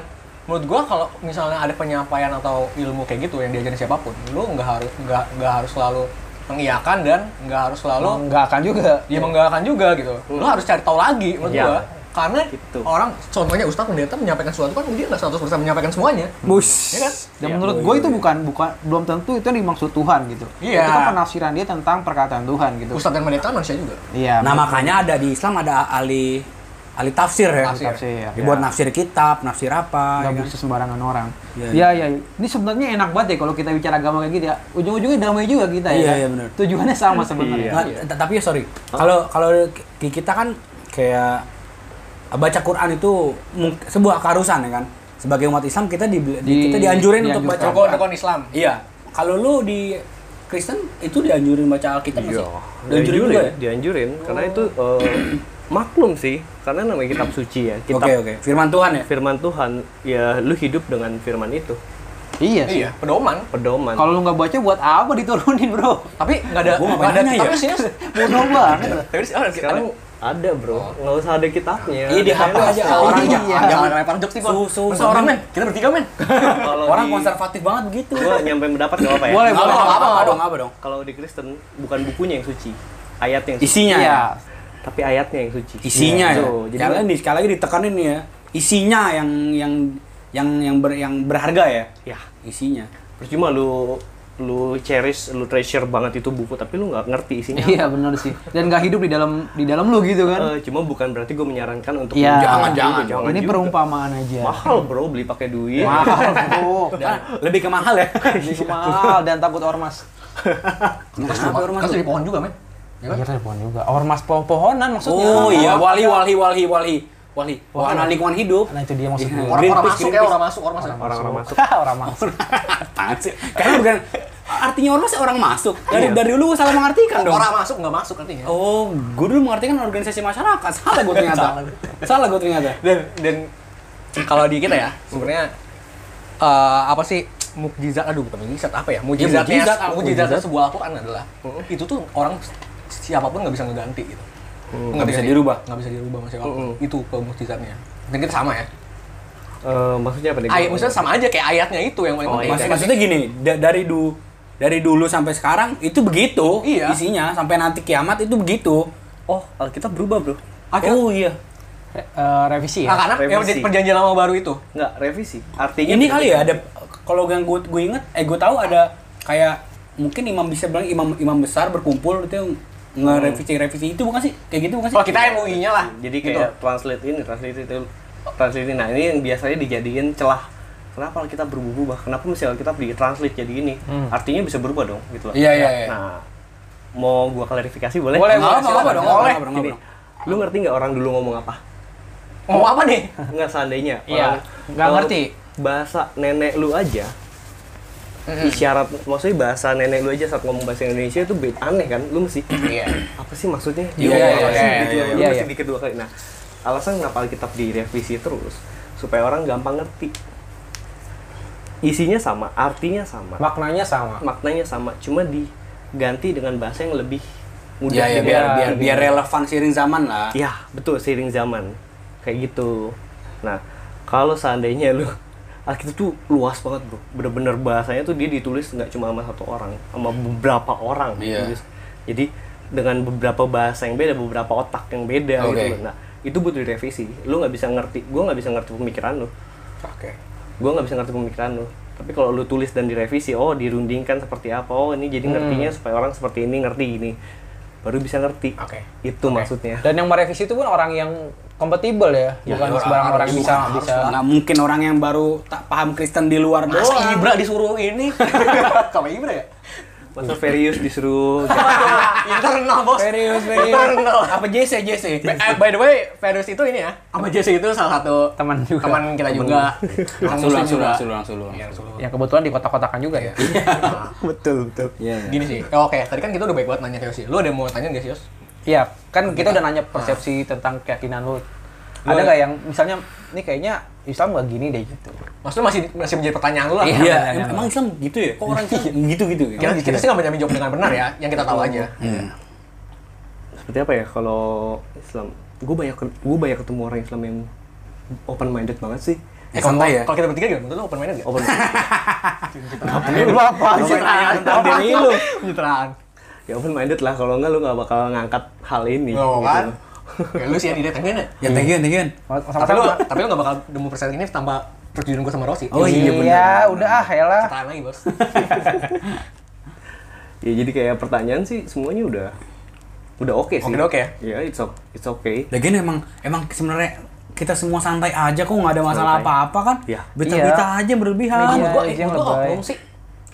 Speaker 1: menurut gua kalau misalnya ada penyampaian atau ilmu kayak gitu yang diajarin siapapun, lu nggak harus nggak nggak harus selalu mengiyakan dan nggak harus selalu
Speaker 2: Kalau nggak akan juga.
Speaker 1: dia menggalakkan juga gitu.
Speaker 3: Hmm.
Speaker 1: Lu harus cari tahu lagi menurut
Speaker 4: Iya.
Speaker 1: gua. Karena
Speaker 4: Gitu.
Speaker 1: orang contohnya Ustadz pendeta menyampaikan sesuatu kan dia nggak 100% menyampaikan semuanya.
Speaker 3: Bus. Iya.
Speaker 1: Iya kan?
Speaker 2: Dan menurut gue itu bukan bukan belum tentu itu yang dimaksud Tuhan gitu.
Speaker 1: Iya.
Speaker 2: Itu kan penafsiran dia tentang perkataan Tuhan gitu.
Speaker 1: Ustadz dan pendeta manusia juga.
Speaker 2: Iya.
Speaker 3: Nah makanya ada di Islam ada ahli ahli tafsir ya.
Speaker 1: Tafsir.
Speaker 2: Tafsir,
Speaker 3: Dia buat nafsir kitab, nafsir
Speaker 2: iya.
Speaker 3: apa.
Speaker 2: nggak
Speaker 3: ya kan?
Speaker 2: bisa sembarangan orang.
Speaker 3: Iya,
Speaker 2: Iya, iya. Ini sebenarnya enak banget ya kalau kita bicara agama kayak gitu ya. Ujung-ujungnya damai juga kita ya.
Speaker 3: Iya,
Speaker 2: kan?
Speaker 3: iya, benar.
Speaker 2: Tujuannya sama sebenarnya.
Speaker 4: Iya.
Speaker 3: Nggak, t- Tapi ya sorry, kalau kalau di kita kan kayak baca Quran itu mung- sebuah keharusan ya kan. Sebagai umat Islam kita di, di-
Speaker 2: Di-
Speaker 3: kita dianjurin untuk
Speaker 2: dianjurkan.
Speaker 3: baca
Speaker 1: Rukun
Speaker 3: Quran.
Speaker 1: rukun Islam.
Speaker 3: Iya. Kalau lu di Kristen itu dianjurin baca Alkitab nggak
Speaker 4: Iya,
Speaker 3: sih? Dianjurin
Speaker 4: dianjurin,
Speaker 3: juga ya?
Speaker 4: dianjurin karena itu eh, maklum sih, karena namanya kitab suci ya,
Speaker 3: Oke
Speaker 4: kitab
Speaker 3: oke. Firman Tuhan ya.
Speaker 4: firman Tuhan, ya lu hidup dengan firman itu,
Speaker 2: Iya. sih.
Speaker 1: Iya, pedoman.
Speaker 4: pedoman.
Speaker 2: Kalau lu nggak baca buat apa diturunin, Bro?
Speaker 1: Tapi nggak ada
Speaker 3: Gua nggak
Speaker 1: nggak ada
Speaker 3: nanya ya.
Speaker 1: tapi sih
Speaker 2: <laughs> Bodoh banget.
Speaker 1: tapi sih ada
Speaker 4: sekarang ada bro, nggak usah ada kitabnya.
Speaker 3: Iya di
Speaker 4: Ada
Speaker 3: HP aja
Speaker 4: kayak-
Speaker 3: orang
Speaker 1: Iya.
Speaker 3: jangan jangan lempar jokes
Speaker 1: jokes
Speaker 3: sih
Speaker 1: sih
Speaker 3: Bang. Masa
Speaker 1: orang
Speaker 3: orang
Speaker 1: men, kita bertiga men.
Speaker 4: Kalau
Speaker 3: orang
Speaker 4: di-
Speaker 3: konservatif banget gitu.
Speaker 4: Gua nyampe pendapat nggak apa-apa ya.
Speaker 2: Boleh,
Speaker 3: Nggak
Speaker 2: boleh.
Speaker 3: apa-apa,
Speaker 2: Apa-apa.
Speaker 3: nggak dong, apa dong.
Speaker 4: Kalau di Kristen bukan bukunya yang suci, ayatnya yang suci,
Speaker 3: Isinya ya.
Speaker 2: Iya.
Speaker 4: tapi ayatnya yang suci.
Speaker 3: Isinya ya.
Speaker 4: Tuh,
Speaker 3: Jadi
Speaker 4: jadi
Speaker 3: sekali lagi, sekali lagi ditekanin nih ya. Isinya yang yang yang yang ber- yang berharga ya.
Speaker 4: ya
Speaker 3: Isinya.
Speaker 4: percuma lu lu cherish, lu treasure banget itu buku, tapi lu nggak ngerti isinya.
Speaker 2: Iya, benar sih. Dan nggak hidup di dalam di dalam lu gitu kan.
Speaker 4: Eh, cuma bukan berarti gue menyarankan untuk
Speaker 2: Iya.
Speaker 4: lu
Speaker 2: Jangan,
Speaker 4: juga,
Speaker 3: jangan.
Speaker 2: Ini
Speaker 4: juga. iya.
Speaker 2: perumpamaan aja.
Speaker 4: mahal bro beli pakai duit
Speaker 2: Mahal, Bro.
Speaker 3: Dan lebih ke mahal ya.
Speaker 2: Ini mahal dan takut ormas.
Speaker 1: Kan dari pohon juga men. Ya kan?
Speaker 2: Iya, telepon juga. Ormas pohon-pohonan maksudnya.
Speaker 3: oh iya, wali wali wali wali wali. Wahana lingkungan hidup.
Speaker 2: Nah, itu dia maksud
Speaker 3: Iya.
Speaker 2: gue.
Speaker 1: Orang orang
Speaker 3: Greenpeace,
Speaker 1: masuk ya, orang masuk, orang masuk.
Speaker 4: orang-orang masuk
Speaker 2: <laughs> Orang masuk.
Speaker 3: Apaan sih? Karena bukan artinya ormas ya orang masuk. Dari dari dulu gua salah mengartikan dong.
Speaker 1: Orang masuk nggak masuk ya. artinya.
Speaker 3: Oh, gue dulu mengartikan organisasi masyarakat. Salah gue ternyata. Salah gue ternyata.
Speaker 1: dan dan kalau di kita ya sebenarnya eh, apa sih mukjizat aduh bukan mukjizat apa ya mukjizatnya Hmm.
Speaker 3: mukjizat,
Speaker 1: mukjizatnya
Speaker 3: mukjizat.
Speaker 1: sebuah Al-Quran adalah itu tuh orang siapapun nggak bisa ngeganti gitu
Speaker 3: nggak bisa dirubah.
Speaker 1: nggak bisa dirubah masih
Speaker 4: Mm-mm.
Speaker 1: itu ke mukjizatnya dan kita sama ya
Speaker 4: Eh, maksudnya apa nih
Speaker 1: ayat maksudnya sama aja kayak ayatnya itu yang paling
Speaker 4: Oh,
Speaker 1: penting
Speaker 3: Mas-
Speaker 1: ya kan?
Speaker 3: maksudnya gini, da- dari du dari dulu sampai sekarang itu begitu
Speaker 1: Iya.
Speaker 3: isinya sampai nanti kiamat itu begitu.
Speaker 4: oh Alkitab berubah bro
Speaker 3: Akhirnya-
Speaker 4: oh iya
Speaker 2: Re- eh, revisi
Speaker 1: Nah,
Speaker 2: ya.
Speaker 1: karena yang
Speaker 4: Revisi.
Speaker 1: jadi perjanjian lama baru itu
Speaker 4: nggak revisi artinya
Speaker 3: Ini kali ya ada kalau yang gue gue inget, eh gue tahu ada kayak mungkin imam bisa bilang imam imam besar berkumpul itu yang ngerevisi revisi itu bukan sih kayak gitu bukan sih?
Speaker 1: kalau Oh, kita MUI nya lah
Speaker 4: jadi kayak
Speaker 1: Gitu.
Speaker 4: translate ini translate itu translate ini nah ini yang biasanya dijadiin celah kenapa Alkitab berubah kenapa mesti Alkitab di translate jadi ini artinya bisa berubah dong gitu loh
Speaker 1: Hmm. Iya, iya, iya.
Speaker 4: nah mau gua klarifikasi boleh
Speaker 1: Boleh, boleh,
Speaker 3: Nggak
Speaker 1: silakan.
Speaker 3: apa-apa
Speaker 1: Boleh.
Speaker 3: dong, nggak apa-apa,
Speaker 4: Gini,
Speaker 3: nggak apa-apa.
Speaker 4: lu ngerti nggak orang dulu ngomong apa
Speaker 1: mau apa nih
Speaker 4: nggak seandainya
Speaker 2: Iya,
Speaker 4: orang-
Speaker 2: nggak
Speaker 4: kalau
Speaker 2: ngerti.
Speaker 4: bahasa nenek lu aja isyarat maksudnya bahasa nenek lu aja saat ngomong bahasa Indonesia itu beda aneh kan lu mesti
Speaker 1: iya
Speaker 4: apa sih maksudnya
Speaker 1: Iya,
Speaker 4: Lu
Speaker 1: iya,
Speaker 4: apa
Speaker 1: iya,
Speaker 4: sih?
Speaker 1: iya,
Speaker 4: Gitu,
Speaker 1: iya,
Speaker 4: lu
Speaker 2: iya,
Speaker 4: mesti
Speaker 2: iya.
Speaker 4: dikit dua kali nah alasan kenapa Alkitab direvisi terus supaya orang gampang ngerti isinya sama artinya sama
Speaker 2: Maknanya sama.
Speaker 4: maknanya sama cuma diganti dengan bahasa yang lebih mudah
Speaker 3: Iya, ya,
Speaker 4: dimengerti.
Speaker 3: biar biar biar relevan seiring zaman lah.
Speaker 4: Ya, betul seiring zaman. Kayak gitu. Nah, kalau seandainya lu Alkitab tuh luas banget, Bro. Bener-bener bahasanya tuh dia ditulis nggak cuma sama satu orang, sama beberapa orang
Speaker 3: Iya.
Speaker 4: ditulis. Jadi dengan beberapa bahasa yang beda, beberapa otak yang beda
Speaker 3: Oke.
Speaker 4: gitu loh. Nah, itu butuh direvisi lu nggak bisa ngerti gue nggak bisa ngerti pemikiran lu
Speaker 1: Oke.
Speaker 4: gue nggak bisa ngerti pemikiran lu tapi kalau lu tulis dan direvisi oh dirundingkan seperti apa oh ini jadi ngertinya supaya orang seperti ini ngerti ini baru bisa ngerti
Speaker 1: Oke.
Speaker 4: itu maksudnya
Speaker 2: Dan yang merevisi itu pun orang yang kompatibel ya, bukan sembarang orang yang bisa
Speaker 3: Harus
Speaker 2: bisa.
Speaker 3: lah. Nggak mungkin orang yang baru tak paham Kristen di luar
Speaker 1: Masa
Speaker 3: doang.
Speaker 1: Ibra disuruh ini? <laughs> Kamu Ibra ya?
Speaker 4: masa Ferius disuruh
Speaker 1: Internal bos.
Speaker 2: Serius, serius.
Speaker 1: Internal.
Speaker 3: Apa JC, JC?
Speaker 1: By, eh, by the way, Ferus itu ini ya, sama Jesse itu salah satu
Speaker 2: Teman juga.
Speaker 1: teman kita juga, orang
Speaker 3: Langsung,
Speaker 1: muslim
Speaker 3: langsung,
Speaker 1: juga.
Speaker 3: langsung, langsung, langsung.
Speaker 1: Iya, langsung.
Speaker 2: Ya kebetulan di kotak-kotakan juga ya.
Speaker 1: Nah,
Speaker 4: <laughs> betul betul
Speaker 3: Iya, iya.
Speaker 1: Gini sih, eh, oke, tadi kan kita udah baik banget nanya ke Yosi. Lu ada yang mau tanya nggak sih, Yos?
Speaker 2: Iya, kan kita udah nanya persepsi tentang keyakinan lu. Ada nggak yang misalnya ini kayaknya Islam nggak gini deh gitu.
Speaker 1: Maksudnya masih masih menjadi pertanyaan lu lah.
Speaker 2: Iya,
Speaker 3: Iya,
Speaker 2: iya.
Speaker 3: emang Islam gitu ya? Kok <laughs> orang Islam gitu-gitu ya?
Speaker 1: Kita, kita sih nggak punya jawab dengan benar ya, yang kita tahu aja.
Speaker 4: seperti apa ya kalau Islam gue banyak gue banyak ketemu orang Islam yang open minded banget sih
Speaker 1: Eh, kalau,
Speaker 3: santai ya?
Speaker 1: kalau kita bertiga gimana? Menurut lu open minded nggak? Ah,
Speaker 4: open <laughs> minded.
Speaker 2: Lu apa sih?
Speaker 1: tentang diri lu. Pencitraan.
Speaker 4: ya open minded lah kalau enggak lu nggak bakal ngangkat hal ini
Speaker 1: Lo
Speaker 4: gitu
Speaker 1: kan?
Speaker 4: loh.
Speaker 1: Ya, lu sih yang didatengin ya?
Speaker 3: Ya, thank you, thank you.
Speaker 1: Tapi lu,
Speaker 2: Sama-sama.
Speaker 1: tapi lu nggak bakal demo persen ini tanpa perjudian gue sama Rossi.
Speaker 3: Oh, iya, bener.
Speaker 2: Iya, udah ah, lah.
Speaker 1: Ketaan lagi,
Speaker 3: <laughs> Iya,
Speaker 1: bos.
Speaker 4: ya jadi kayak pertanyaan sih semuanya udah udah oke sih
Speaker 1: Oke-oke ya?
Speaker 4: ya it's o- it's okay
Speaker 3: Lagian emang emang sebenarnya kita semua santai aja kok nggak ada masalah
Speaker 4: Santai.
Speaker 3: apa-apa kan?
Speaker 4: Iya.
Speaker 3: Beta-beta aja yang berlebihan.
Speaker 2: Iya,
Speaker 1: Menurut gue,
Speaker 2: itu yang
Speaker 1: menurut gue
Speaker 2: lebay.
Speaker 3: ya.
Speaker 1: oknum sih.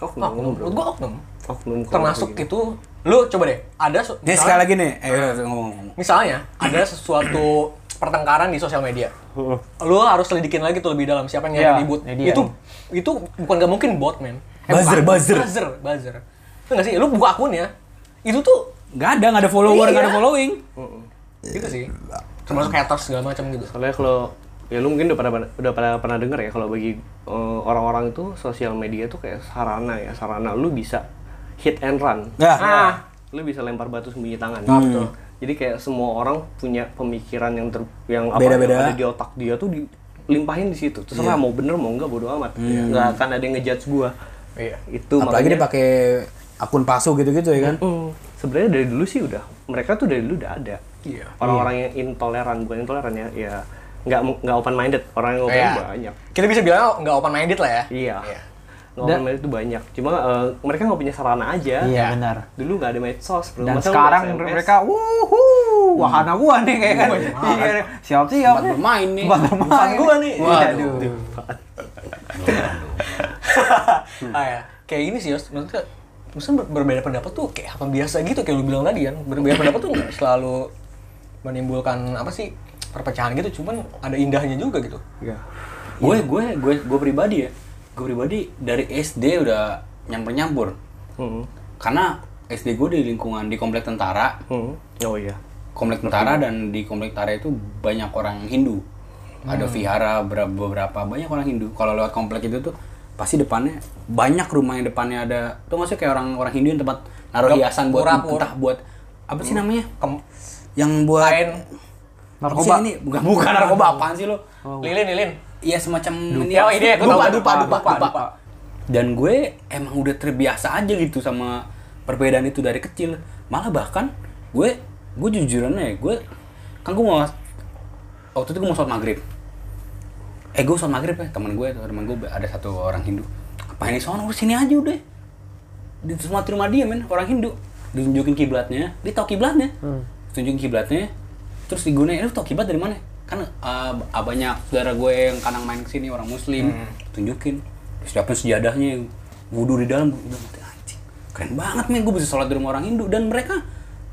Speaker 4: Oknum,
Speaker 1: Oknum,
Speaker 4: bro.
Speaker 1: menurut gue oknum.
Speaker 4: oknum kalau
Speaker 1: Termasuk
Speaker 4: kayak gitu.
Speaker 1: itu, lu coba deh, ada su-
Speaker 3: Dia sekali lagi nih, eh udah, udah, ngomong ngomong.
Speaker 1: misalnya ada sesuatu <clears throat> pertengkaran di sosial media. Lu harus selidikin lagi tuh lebih dalam siapa yang
Speaker 2: Iya,
Speaker 1: yeah, ribut.
Speaker 2: ini dia.
Speaker 1: Itu itu bukan gak mungkin bot, men.
Speaker 3: Eh, Buzzer,
Speaker 1: bukan.
Speaker 3: buzzer.
Speaker 1: Buzzer, buzzer. Itu nggak sih? Lu buka akun ya. Itu tuh
Speaker 3: Nggak ada, nggak ada follower, nggak ada
Speaker 1: Iya.
Speaker 3: following.
Speaker 1: gitu sih. Termasuk haters segala macam gitu.
Speaker 4: soalnya kalau ya lu mungkin udah pada udah pada pernah dengar ya kalau bagi eh, orang-orang itu sosial media tuh kayak sarana ya sarana lu bisa hit and run
Speaker 3: Ya.
Speaker 1: Ah,
Speaker 4: lu bisa lempar batu sembunyi
Speaker 2: Hmm.
Speaker 4: tangan Gitu.
Speaker 3: Ah, betul.
Speaker 4: jadi kayak semua orang punya pemikiran yang ter, yang apa
Speaker 3: Beda-beda.
Speaker 4: yang ada di otak dia tuh dilimpahin di situ
Speaker 2: Iya.
Speaker 4: terserah mau bener mau enggak bodo amat
Speaker 2: Hmm.
Speaker 4: nggak akan ada yang ngejudge gua
Speaker 1: Iya.
Speaker 4: itu
Speaker 3: Apalagi dia
Speaker 4: makanya
Speaker 3: pakai akun palsu gitu-gitu ya kan?
Speaker 4: Mm, sebenarnya dari dulu sih udah mereka tuh dari dulu udah ada
Speaker 1: Iya.
Speaker 4: orang-orang yang intoleran bukan intoleran ya ya nggak mu- nggak open minded orang yang open
Speaker 1: Iya.
Speaker 4: banyak
Speaker 1: Kita bisa bilang nggak open minded lah ya.
Speaker 4: iya
Speaker 1: Iya.
Speaker 4: nggak open minded tuh banyak cuma eh, mereka nggak punya sarana aja
Speaker 2: Iya, benar.
Speaker 4: dulu nggak ada medsos bro.
Speaker 2: Dan
Speaker 4: Masa lu
Speaker 2: sekarang
Speaker 4: SMS?
Speaker 2: mereka wuhu, wahana gua nih kayak kan. Iya, siap-siap.
Speaker 3: Tempat bermain Iya. nih.
Speaker 2: Tempat bermain.
Speaker 1: Bukan gua nih. Iya,
Speaker 2: Waduh.
Speaker 1: <laughs> ah, ya. Kayak ini sih, Yos. Maksudnya, maksudnya ber- berbeda pendapat tuh kayak apa biasa gitu kayak lu bilang tadi kan. Berbeda pendapat tuh nggak selalu menimbulkan apa sih perpecahan gitu, cuman ada indahnya juga gitu.
Speaker 4: Iya.
Speaker 3: Gue gue gue gue pribadi ya. Gue pribadi dari SD udah nyampur-nyampur.
Speaker 4: Hmm.
Speaker 3: Karena SD gue di lingkungan di komplek tentara,
Speaker 4: Hmm. Oh iya.
Speaker 3: komplek tentara dan di komplek tentara itu banyak orang Hindu ada
Speaker 1: Hmm.
Speaker 3: vihara ber- beberapa banyak orang Hindu kalau lewat komplek itu tuh pasti depannya banyak rumah yang depannya ada tuh nggak sih kayak orang-orang Hindu yang tempat naruh
Speaker 1: Yap,
Speaker 3: hiasan buat
Speaker 1: pura-pura.
Speaker 3: entah buat apa sih namanya
Speaker 1: Kem-
Speaker 3: yang buat
Speaker 1: Kain Oh.
Speaker 3: Apa
Speaker 2: narkoba.
Speaker 3: sih ini bukan bukan narkoba apaan sih lo
Speaker 2: Oh.
Speaker 1: lilin lilin.
Speaker 3: Iya semacam ini
Speaker 1: Ya,
Speaker 3: apa
Speaker 1: ide,
Speaker 3: sih?
Speaker 1: aku
Speaker 3: dupa,
Speaker 1: tahu.
Speaker 3: dupa,
Speaker 1: Dupa,
Speaker 3: dupa,
Speaker 1: dupa,
Speaker 3: dupa.
Speaker 1: dupa.
Speaker 3: Dan gue emang udah terbiasa aja gitu sama perbedaan itu dari kecil. Malah bahkan gue gue jujurannya ya, gue kan gue mau waktu itu gue mau sholat maghrib. Eh gue sholat maghrib ya teman gue teman gue ada satu orang Hindu. Apa ini sholat Udah sini aja udah di semua rumah dia men orang Hindu ditunjukin kiblatnya dia tahu kiblatnya tunjukin kiblatnya terus digunain lu tahu kiblat dari mana kan uh, abahnya saudara gue yang kadang main kesini orang muslim tunjukin terus siapin sejadahnya wudhu di dalam udah mati anjing keren banget men gue bisa sholat di rumah orang Hindu dan mereka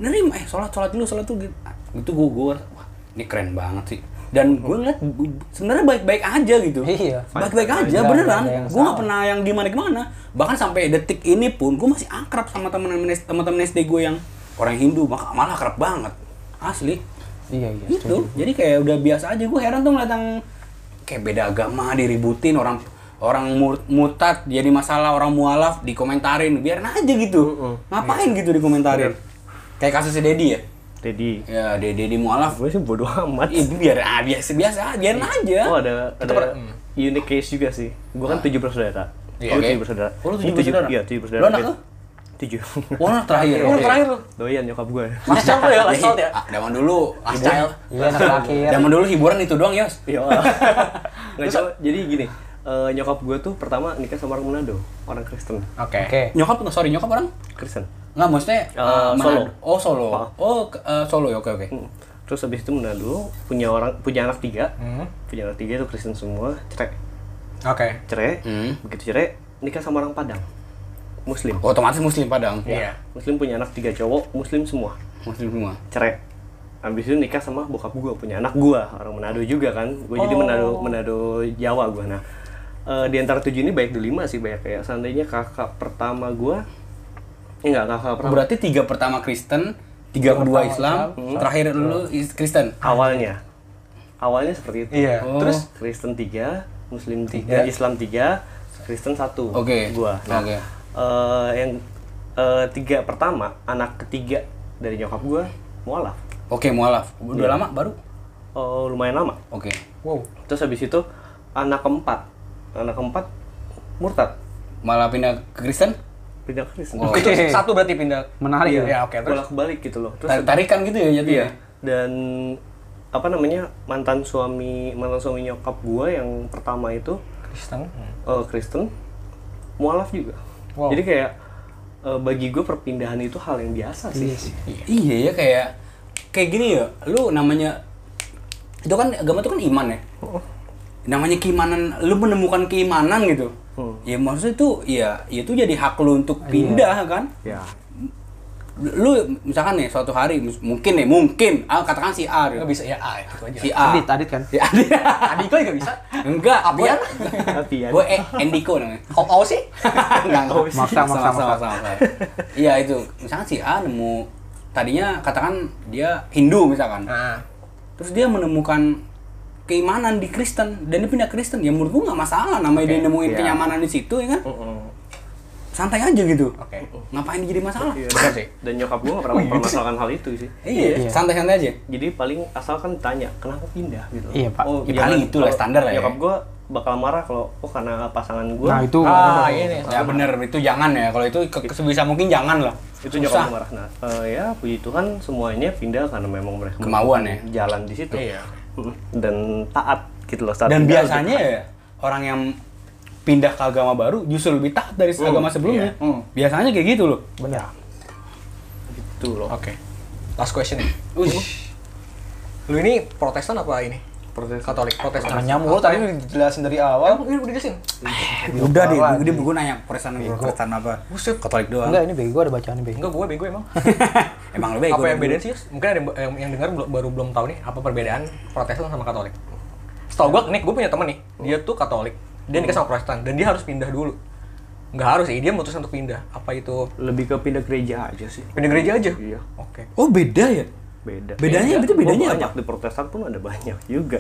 Speaker 3: nerima eh sholat sholat dulu sholat dulu gitu itu gue gue wah ini keren banget sih dan gue ngeliat gu- sebenarnya baik-baik aja gitu
Speaker 2: Iya.
Speaker 3: baik-baik aja
Speaker 2: Nggak ada
Speaker 3: beneran
Speaker 2: yang
Speaker 3: gue nggak
Speaker 2: salah.
Speaker 3: pernah yang gimana gimana bahkan sampai detik ini pun gue masih akrab sama teman-teman teman-teman SD gue yang orang Hindu mak- malah akrab banget asli
Speaker 2: Iya, iya.
Speaker 3: gitu jadi kayak udah biasa aja gue heran tuh ngeliat yang kayak beda agama diributin orang orang mur- murtad jadi masalah orang mualaf dikomentarin biarin aja gitu
Speaker 2: Iya,
Speaker 3: ngapain gitu dikomentarin kayak kasusnya Dedi ya
Speaker 4: Jadi
Speaker 3: ya Dedi mualaf
Speaker 4: gue sih bodo amat.
Speaker 3: Ih, biar ah, biasa biasa biarin aja
Speaker 4: Oh ada ada unique case juga sih. Gue kan tujuh bersaudara.
Speaker 3: Iya,
Speaker 4: Gua
Speaker 3: oke.
Speaker 4: tujuh bersaudara.
Speaker 3: Oh, lu tujuh
Speaker 4: Ini
Speaker 3: bersaudara?
Speaker 4: Iya tujuh
Speaker 3: Lu
Speaker 4: bersaudara.
Speaker 3: anak
Speaker 4: Tapi
Speaker 3: lu?
Speaker 4: tujuh
Speaker 3: Wah, terakhir.
Speaker 1: Oh, yang terakhir lu.
Speaker 4: doyan nyokap gue
Speaker 1: Last child lu ya, last child ya.
Speaker 3: Ah, Zaman dulu,
Speaker 1: Last
Speaker 3: hiburan-
Speaker 1: child.
Speaker 2: Iya, anak terakhir.
Speaker 3: Zaman dulu hiburan itu doang, Yos.
Speaker 4: <laughs> Iya. Nggak cuma, jadi gini, eh, nyokap gue tuh pertama nikah sama orang Manado, orang Kristen.
Speaker 1: Oke.
Speaker 2: Oke.
Speaker 3: Nyokap, sorry, nyokap orang?
Speaker 4: Kristen.
Speaker 3: Nggak, maksudnya
Speaker 4: Eh,
Speaker 3: eh,
Speaker 4: Solo.
Speaker 3: Manado. Oh, Solo.
Speaker 4: Ah.
Speaker 3: Oh, ke- eh, Solo, ya, oke, oke.
Speaker 4: Hmm. Terus abis itu Manado punya orang punya anak tiga,
Speaker 3: Hmm.
Speaker 4: punya anak tiga itu Kristen semua, cerai,
Speaker 1: Oke.
Speaker 4: cerai,
Speaker 3: Hmm.
Speaker 4: begitu cerai nikah sama orang Padang, Muslim.
Speaker 3: Otomatis muslim Padang.
Speaker 1: Iya.
Speaker 4: Muslim punya anak tiga cowok, Muslim semua,
Speaker 3: Muslim semua.
Speaker 4: cerai. Abis itu nikah sama bokap gue, punya anak gue, orang Manado juga kan. Gue jadi Manado Manado Jawa gue. Nah, eh, di antara tujuh ini banyak delima sih banyak kayak seandainya kakak pertama gue, eh, enggak kakak pertama
Speaker 3: Berarti tiga pertama Kristen, tiga kedua Islam, terakhir dulu is- Kristen.
Speaker 4: awalnya awalnya seperti itu
Speaker 1: Iya.
Speaker 3: Oh.
Speaker 4: terus Kristen 3 Muslim 3 Islam 3 Kristen 1
Speaker 3: Oke.
Speaker 4: gua nah
Speaker 3: Oke.
Speaker 4: eh, yang eh, tiga pertama anak ketiga dari nyokap gua mualaf
Speaker 3: Oke, mualaf. Udah lama baru?
Speaker 4: Eh, lumayan lama
Speaker 3: Oke.
Speaker 2: Wow.
Speaker 4: terus habis itu anak keempat anak keempat murtad
Speaker 3: Malah pindah ke Kristen?
Speaker 4: pindah ke Kristen
Speaker 3: Wow.
Speaker 1: Itu satu berarti pindah.
Speaker 2: Menarik
Speaker 1: Oh, Iya,
Speaker 2: ya.
Speaker 1: ya, oke. Terus
Speaker 4: bolak balik gitu loh terus
Speaker 3: Tar- Tarikan gitu ya jadi.
Speaker 4: Iya. Dan apa namanya mantan suami mantan suami nyokap gua yang pertama itu
Speaker 1: Kristen.
Speaker 4: eh, Kristen mualaf juga.
Speaker 1: Wow.
Speaker 4: Jadi kayak eh, bagi gue perpindahan itu hal yang biasa sih.
Speaker 2: Iya sih.
Speaker 3: Iya ya kayak kayak gini ya. Lu namanya itu kan agama itu kan iman ya. Namanya keimanan, lu menemukan keimanan gitu. Ya maksudnya itu ya itu jadi hak lu untuk pindah kan.
Speaker 4: Ya.
Speaker 3: Lu misalkan nih suatu hari mus- mungkin nih mungkin ah, katakan si A gitu.
Speaker 1: Nggak bisa ya A itu aja.
Speaker 3: si A.
Speaker 2: Adit, Adit kan?
Speaker 3: Si Adit.
Speaker 1: Tadi kok juga bisa.
Speaker 3: Ya, Enggak,
Speaker 1: Apian?
Speaker 4: Tapi ya.
Speaker 3: Gue eh, Endiko namanya.
Speaker 1: Kok kau sih?
Speaker 3: <laughs> Enggak, enggak.
Speaker 4: Maksa,
Speaker 2: maksa, maksa.
Speaker 3: maksa. Iya itu. Misalkan si A nemu tadinya katakan dia Hindu misalkan.
Speaker 4: Ah.
Speaker 1: Nah,
Speaker 3: Terus dia menemukan keimanan di Kristen dan dia pindah Kristen. Ya menurut gua nggak masalah namanya dia nemuin
Speaker 4: Iya.
Speaker 3: kenyamanan di situ ya kan. Santai aja gitu.
Speaker 1: oke.
Speaker 3: Ngapain jadi masalah?
Speaker 4: Iya.
Speaker 1: Bener sih.
Speaker 4: Dan nyokap gue gak pernah mempermasalahkan hal itu sih.
Speaker 3: Iya, santai-santai aja.
Speaker 4: Jadi paling asalkan ditanya kenapa pindah gitu.
Speaker 2: Iya, Pak.
Speaker 3: Ya, paling itu lah,
Speaker 4: kalau
Speaker 3: standar lah ya.
Speaker 4: Nyokap gue bakal marah kalau oh karena pasangan gue.
Speaker 2: Nah, itu
Speaker 1: Ah,
Speaker 4: iya,
Speaker 1: ini.
Speaker 3: Ya bener, itu jangan ya. Kalau itu ke- sebisa mungkin jangan lah.
Speaker 4: itu
Speaker 3: Susah.
Speaker 4: nyokap gue marah. Nah, eh, ya puji Tuhan semuanya pindah karena memang mereka
Speaker 3: Kemauan ya?
Speaker 4: jalan di situ.
Speaker 1: Iya.
Speaker 4: Mm, Dan taat gitu loh. saat
Speaker 3: Dan
Speaker 4: pindah lebih
Speaker 3: biasanya ya, orang yang pindah ke agama baru justru lebih taat dari agama sebelumnya.
Speaker 1: iya. Hmm.
Speaker 3: Biasanya kayak gitu loh.
Speaker 2: Bener.
Speaker 4: taat gitu loh.
Speaker 1: Oke. Last question nih.
Speaker 3: Ush.
Speaker 1: Lu ini Protestan apa ini?
Speaker 4: Proses
Speaker 1: Katolik, Protestan.
Speaker 2: Jangan nyamuk, lu tadi udah dijelasin dari awal.
Speaker 1: Ini udah jelasin.
Speaker 3: Eh, udah deh, gue dia gue nanya Protestan Protestan apa?
Speaker 1: Buset.
Speaker 3: Katolik doang.
Speaker 2: Enggak, ini bego ada bacaannya bego.
Speaker 1: Enggak, gue bego emang.
Speaker 3: <laughs> Emang lebih
Speaker 1: apa yang bedanya sih? Yus? Mungkin ada yang, yang, yang dengar bel- baru belum tahu nih apa perbedaan Protestan sama Katolik. Setahu gue nih, gue punya temen nih, dia tuh Katolik, dia nikah sama Protestan dan dia harus pindah dulu. Nggak harus sih, dia memutuskan untuk pindah. Apa itu
Speaker 4: lebih ke pindah gereja aja sih.
Speaker 1: pindah gereja aja?
Speaker 4: Iya.
Speaker 1: Oke.
Speaker 3: Oh beda ya?
Speaker 4: beda
Speaker 3: Bedanya- itu bedanya
Speaker 4: Gua banyak
Speaker 3: apa?
Speaker 4: di Protestan pun ada banyak juga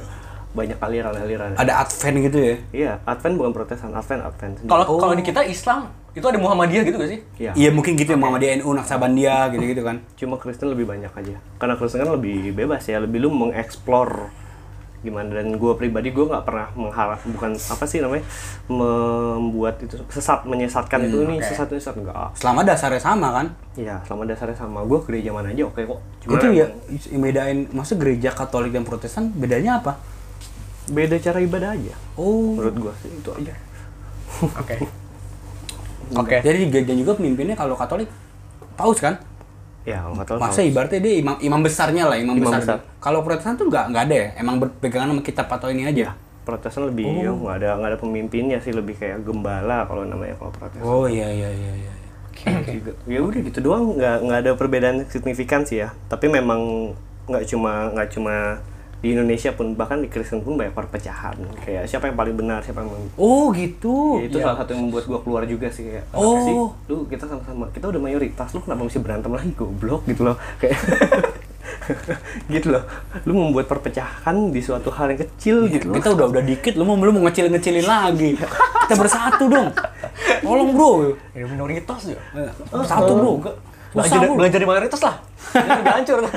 Speaker 4: banyak aliran-aliran
Speaker 3: Ada Advent gitu ya?
Speaker 4: iya Advent bukan Protestan Advent Advent sendiri.
Speaker 1: Kalau kalau di kita Islam itu ada Muhammadiyah gitu gak sih?
Speaker 4: iya
Speaker 3: Iya mungkin gitu ya, Mama dia NU, <laughs> Naksabandia gitu-gitu kan.
Speaker 4: cuma Kristen lebih banyak aja karena Kristen kan lebih bebas ya lebih lu mengeksplor gimana dan gue pribadi gue nggak pernah mengharap bukan apa sih namanya membuat itu sesat menyesatkan
Speaker 3: Hmm,
Speaker 4: itu nih sesat sesat enggak
Speaker 3: Selama dasarnya sama kan?
Speaker 4: iya selama dasarnya sama gue gereja mana aja oke kok Cuma
Speaker 3: itu ya
Speaker 4: emang
Speaker 3: yang bedain maksud gereja Katolik dan Protestan bedanya apa?
Speaker 4: beda cara ibadah aja
Speaker 3: Oh.
Speaker 4: menurut gue sih itu aja
Speaker 1: Oke. Oke.
Speaker 3: Jadi dan juga pemimpinnya kalau Katolik Paus kan?
Speaker 4: ya nggak tahu
Speaker 3: Masa ibaratnya dia imam, imam besarnya lah, imam,
Speaker 4: Imam
Speaker 3: besar.
Speaker 4: besar.
Speaker 3: Kalau Protestan tuh nggak nggak ada ya, emang berpegangan sama kitab atau ini
Speaker 4: Iya.
Speaker 3: aja.
Speaker 4: Protestan lebih ya,
Speaker 3: Oh.
Speaker 4: nggak ada nggak ada pemimpinnya sih lebih kayak gembala kalau namanya kalau Protestan.
Speaker 3: Oh iya iya iya iya.
Speaker 4: Juga. Ya udah gitu doang nggak nggak ada perbedaan signifikan sih ya. Tapi memang nggak cuma nggak cuma di Indonesia pun bahkan di Kristen pun banyak perpecahan kayak siapa yang paling benar siapa yang mem-
Speaker 3: Oh gitu.
Speaker 4: Ya, itu salah satu yang membuat gua keluar juga sih kayak apa
Speaker 3: Oh.
Speaker 4: sih lu kita sama-sama kita udah mayoritas lu kenapa mesti berantem lagi goblok gitu loh kayak <laughs> gitu loh lu membuat perpecahan di suatu hal yang kecil gitu loh
Speaker 3: Kita udah udah dikit, lu mau lu mau ngecil ngecilin lagi. Kita bersatu dong. Tolong bro.
Speaker 1: Ada minoritas ya.
Speaker 3: Bersatu bro.
Speaker 1: belajar,
Speaker 3: Susah mulu.
Speaker 1: Nah, belajar dari mayoritas lah. Jangan udah hancur. kan?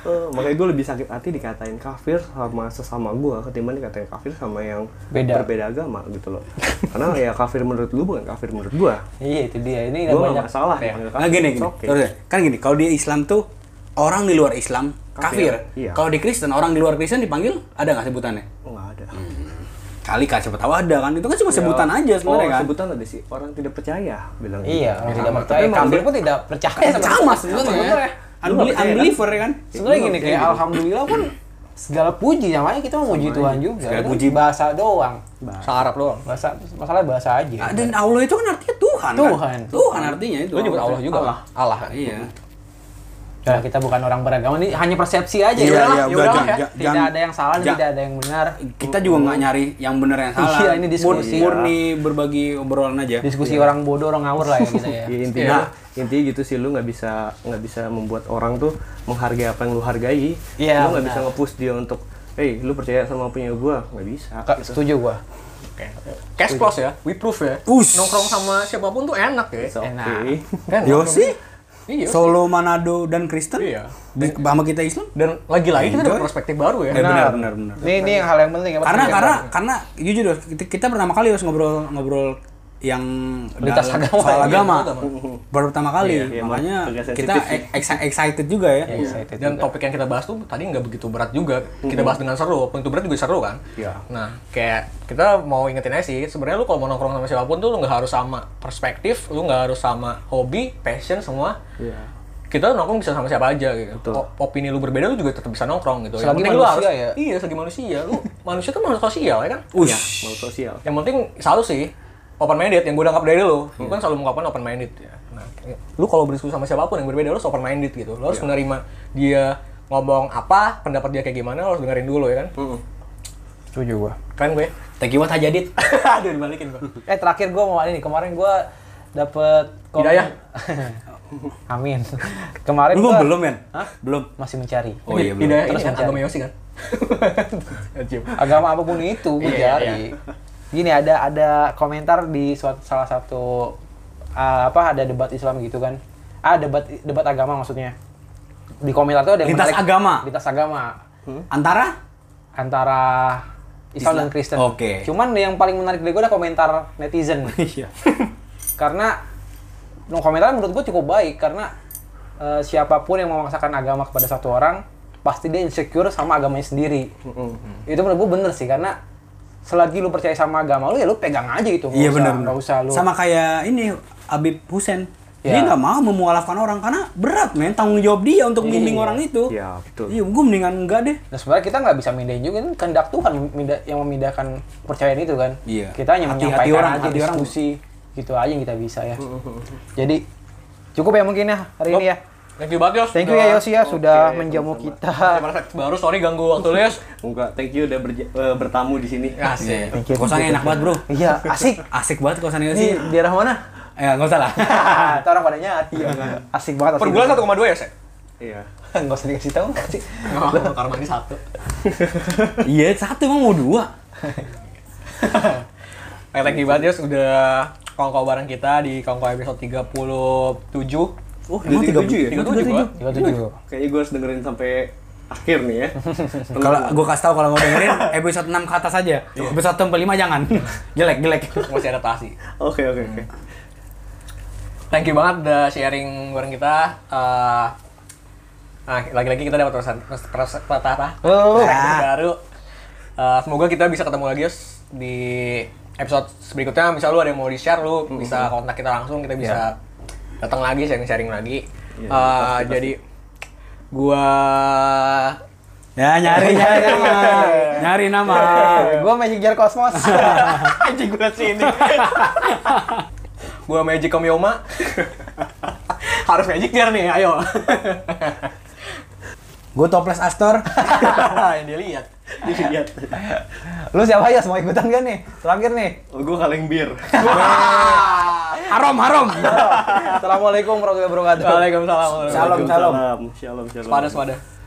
Speaker 4: Eh, makanya gue lebih sakit hati dikatain kafir sama sesama gue ketimbang dikatain kafir sama yang
Speaker 2: Beda.
Speaker 4: berbeda agama gitu loh. Karena ya kafir menurut lu bukan kafir menurut gue.
Speaker 2: Iya itu dia. Ini
Speaker 4: Gue
Speaker 2: banyak
Speaker 4: gak masalah
Speaker 2: Ya.
Speaker 4: dipanggil
Speaker 3: Nah, gini, gini.
Speaker 4: It's okay.
Speaker 3: Terus ya. kan gini, kalau di Islam tuh orang di luar Islam kafir.
Speaker 4: Kafir, iya.
Speaker 3: Kalau di Kristen orang di luar Kristen dipanggil ada nggak sebutannya?
Speaker 4: Oh, nggak ada.
Speaker 3: Kali kan siapa tahu ada kan. Itu kan cuma Hmm. sebutan
Speaker 4: Ya.
Speaker 3: aja sebenarnya
Speaker 4: oh,
Speaker 3: kan.
Speaker 4: sebutan ada sih. Orang tidak percaya bilang. gitu.
Speaker 2: Iya, orang tidak
Speaker 4: Tapi
Speaker 2: percaya.
Speaker 4: emang
Speaker 2: Kafir
Speaker 4: dia-
Speaker 2: pun tidak percaya
Speaker 3: Eh,
Speaker 2: sama
Speaker 3: sama sebenarnya. Unbeli-
Speaker 4: Lu nggak percaya, kan?
Speaker 3: Unbeliever ya kan.
Speaker 2: Sebenarnya
Speaker 4: Iya,
Speaker 2: gini
Speaker 4: iya,
Speaker 2: kayak
Speaker 4: gitu.
Speaker 2: alhamdulillah pun segala puji namanya kita memuji Tuhan juga.
Speaker 3: Segala
Speaker 2: Itu
Speaker 3: puji.
Speaker 2: bahasa doang.
Speaker 1: Bahasa Arab doang.
Speaker 2: Bahasa masalah bahasa aja.
Speaker 3: Ah, Dan Allah itu kan artinya Tuhan.
Speaker 2: Iya. Tuhan.
Speaker 3: Kan? Tuhan artinya itu.
Speaker 1: Lu nyebut Allah juga.
Speaker 2: Allah.
Speaker 1: Allah.
Speaker 3: Iya.
Speaker 2: Udah, kita bukan orang beragama ini hanya persepsi aja ya.
Speaker 3: Iya, iya,
Speaker 2: udahlah, ya
Speaker 3: udah,
Speaker 2: udahlah
Speaker 3: jangan-
Speaker 2: ya.
Speaker 3: jangan-
Speaker 2: Tidak ada yang salah, dan
Speaker 3: jangan-
Speaker 2: tidak ada yang benar.
Speaker 3: Kita juga nggak nyari yang benar yang salah.
Speaker 2: Iya, ini diskusi.
Speaker 3: Mur- Murni berbagi obrolan aja.
Speaker 2: Diskusi orang bodoh, orang ngawur lah ya kita ya.
Speaker 3: <laughs> Iya,
Speaker 4: Ya, intinya intinya gitu sih lu nggak bisa nggak bisa membuat orang tuh menghargai apa yang lu hargai.
Speaker 2: Iya,
Speaker 4: lu nggak
Speaker 2: benar.
Speaker 4: bisa nge-push dia untuk, hey lu percaya sama punya gua nggak bisa.
Speaker 2: Kak, setuju gua.
Speaker 1: Cash plus ya, we proof ya.
Speaker 3: Ush.
Speaker 1: Nongkrong sama siapapun tuh enak ya.
Speaker 4: It's okay.
Speaker 2: Enak.
Speaker 1: Kan?
Speaker 3: Yosi,
Speaker 1: Iya.
Speaker 3: Solo, Manado, dan Kristen.
Speaker 1: Iya.
Speaker 3: Di- Bahama kita Islam.
Speaker 1: Dan lagi-lagi kita dapat
Speaker 3: Enjoy.
Speaker 1: perspektif baru ya.
Speaker 3: Eh, benar, benar, benar.
Speaker 2: Ini ini yang hal yang penting ya.
Speaker 3: karena karena karena jujur Dos, kita, kita pertama kali harus ngobrol ngobrol yang
Speaker 1: Lintas
Speaker 3: dalam-
Speaker 1: agama,
Speaker 3: soal
Speaker 1: iya,
Speaker 3: agama
Speaker 1: agama.
Speaker 3: baru pertama kali
Speaker 4: Iya, iya,
Speaker 3: makanya
Speaker 4: agak sensitif
Speaker 3: kita
Speaker 4: sih.
Speaker 3: ex- ex- excited juga ya
Speaker 2: Excited
Speaker 1: Dan
Speaker 2: juga.
Speaker 1: topik yang kita bahas tuh tadi nggak begitu berat juga. Kita bahas dengan seru, walaupun itu berat juga seru kan.
Speaker 4: Iya.
Speaker 1: Nah, kayak kita mau ingetin aja sih, sebenarnya lu kalau mau nongkrong sama siapapun tuh lu nggak harus sama perspektif, lu nggak harus sama hobi, passion semua.
Speaker 4: Iya.
Speaker 1: Kita nongkrong bisa sama siapa aja gitu.
Speaker 4: Betul.
Speaker 1: O- opini lu berbeda lu juga tetap bisa nongkrong gitu.
Speaker 2: Selagi
Speaker 1: penting lu
Speaker 2: manusia
Speaker 1: harus,
Speaker 2: ya.
Speaker 1: Iya, selagi manusia. Lu <laughs> manusia tuh manusia sosial ya kan?
Speaker 3: Ush.
Speaker 4: Mau sosial.
Speaker 1: Yang penting selalu sih open minded yang gue udah anggap dari lo. Lu kan selalu mengungkapkan open minded ya. Nah, kayak- lu kalau berdiskusi sama siapapun yang berbeda lu harus open minded gitu. Lu harus menerima dia ngomong apa, pendapat dia kayak gimana, lu harus dengerin dulu ya kan.
Speaker 2: setuju gua.
Speaker 1: Keren gue.
Speaker 3: thank you what Hajadit
Speaker 1: <laughs> Aduh dibalikin gue.
Speaker 2: Eh terakhir gua mau ini kemarin gua dapet kom-
Speaker 1: Hidayah.
Speaker 2: <laughs> Amin. Kemarin
Speaker 3: lu
Speaker 2: gua
Speaker 3: belum men
Speaker 2: Hah?
Speaker 3: belum
Speaker 2: masih mencari.
Speaker 3: Oh iya, belum.
Speaker 1: Hidayah
Speaker 2: Terus
Speaker 1: ini kan
Speaker 2: mencari.
Speaker 1: agama Yosi kan. <laughs> Ajib.
Speaker 2: Agama apapun itu gua
Speaker 1: Iya, iya,
Speaker 2: cari. Gini ada ada komentar di suat- salah satu uh, apa ada debat Islam gitu kan. Ah debat debat agama maksudnya. Di komentar tuh ada yang
Speaker 3: Lintas
Speaker 2: menarik-
Speaker 3: agama?
Speaker 2: Lintas agama
Speaker 3: antara
Speaker 2: antara Islam,
Speaker 3: Islam.
Speaker 2: dan Kristen.
Speaker 3: Oke.
Speaker 2: Cuman yang paling menarik dari gua ada komentar
Speaker 3: <laughs>
Speaker 2: netizen. karena no komentar menurut gue cukup baik karena eh, siapapun yang memaksakan agama kepada satu orang pasti dia insecure sama agamanya sendiri
Speaker 3: Mm-hmm.
Speaker 2: itu menurut gue bener sih karena selagi lu percaya sama agama lu ya lu pegang aja gitu nggak
Speaker 3: iya
Speaker 2: usah-
Speaker 3: benar
Speaker 2: nggak
Speaker 3: benar
Speaker 2: usah lu
Speaker 3: sama kayak ini Habib Husen dia
Speaker 2: Iya.
Speaker 3: nggak mau memualafkan orang karena berat men tanggung jawab dia untuk bimbing orang itu
Speaker 4: Iya, betul.
Speaker 3: iya gue mendingan enggak deh
Speaker 2: Nah sebenarnya kita nggak bisa mindahin juga kan kehendak Tuhan yang meminda- yang memindahkan percayaan itu kan.
Speaker 3: Iya.
Speaker 2: Kita hanya
Speaker 3: Hati-hati
Speaker 2: menyampaikan
Speaker 3: orang,
Speaker 2: aja
Speaker 3: hati orang. Mm-hmm.
Speaker 2: diskusi gitu aja yang kita bisa ya. Jadi cukup ya mungkin ya hari ini ya.
Speaker 1: Thank you banget Yos.
Speaker 2: Thank you ya Yosi ya sudah
Speaker 4: Oke,
Speaker 2: menjamu kita.
Speaker 1: Baru sorry ganggu waktu lu Yos.
Speaker 4: Enggak, thank you udah berja- eh, bertamu di sini.
Speaker 3: Ya.
Speaker 1: Asik.
Speaker 2: Thank you.
Speaker 3: kosannya enak banget bro Iya.
Speaker 2: Iya asik.
Speaker 3: asik banget kosannya
Speaker 2: Ini
Speaker 3: sih
Speaker 2: daerah <laughs> mana?
Speaker 3: ya nggak <laughs> usah lah
Speaker 2: Hahaha, orang pada nyari. Asik banget.
Speaker 1: Per bulan 1,2 ya, Sek?
Speaker 4: Iya.
Speaker 2: Enggak usah dikasih tahu.
Speaker 1: Oh, karma ini <laughs> satu.
Speaker 3: iya satu emang mau dua
Speaker 1: Nah, thank you banget Yos udah kongkow bareng kita di kongkow episode 37.
Speaker 3: Oh,
Speaker 4: Udah
Speaker 3: emang tiga
Speaker 4: 37
Speaker 3: tujuh
Speaker 4: ya?
Speaker 3: tiga
Speaker 1: 37 gua.
Speaker 2: Tiga tujuh.
Speaker 4: Kayaknya gue harus dengerin sampai akhir nih
Speaker 3: <laughs>
Speaker 4: ya.
Speaker 3: Kalau gue kasih tahu kalau mau dengerin episode 6 ke atas aja. Episode 6 sampai 5 jangan. <laughs> jelek, jelek.
Speaker 1: Masih adaptasi.
Speaker 4: Oke, oke, oke.
Speaker 1: Thank you banget udah sharing bareng kita. Eh, nah, lagi-lagi kita dapat pesan pesan
Speaker 2: Oh.
Speaker 1: baru. Eh, semoga kita bisa ketemu lagi Yos di episode berikutnya. Misal lu ada yang mau di-share, lu bisa kontak kita langsung, kita bisa datang lagi sharing-sharing lagi.
Speaker 4: Iya,
Speaker 1: Eh,
Speaker 4: pasti, pasti.
Speaker 1: jadi gua
Speaker 3: Ya
Speaker 2: <laughs>
Speaker 3: nyari nyari nama. Nyari nama.
Speaker 2: Gue Magic Jar <laughs> Cosmos.
Speaker 1: <laughs> anjing gua sini. gua Magic Komioma. Harus Magic Jar nih, ayo.
Speaker 3: Gue toples Astor.
Speaker 1: <laughs> yang dia lihat.
Speaker 4: Jadi lihat.
Speaker 2: Lu siapa ya? Mau ikutan gak nih? Terakhir nih.
Speaker 4: Oh, gue kaleng bir.
Speaker 3: Harom, harom.
Speaker 2: Assalamualaikum warahmatullahi wabarakatuh.
Speaker 1: Waalaikumsalam.
Speaker 3: Shalom, shalom.
Speaker 4: Shalom, shalom.
Speaker 1: Sepada, sepada.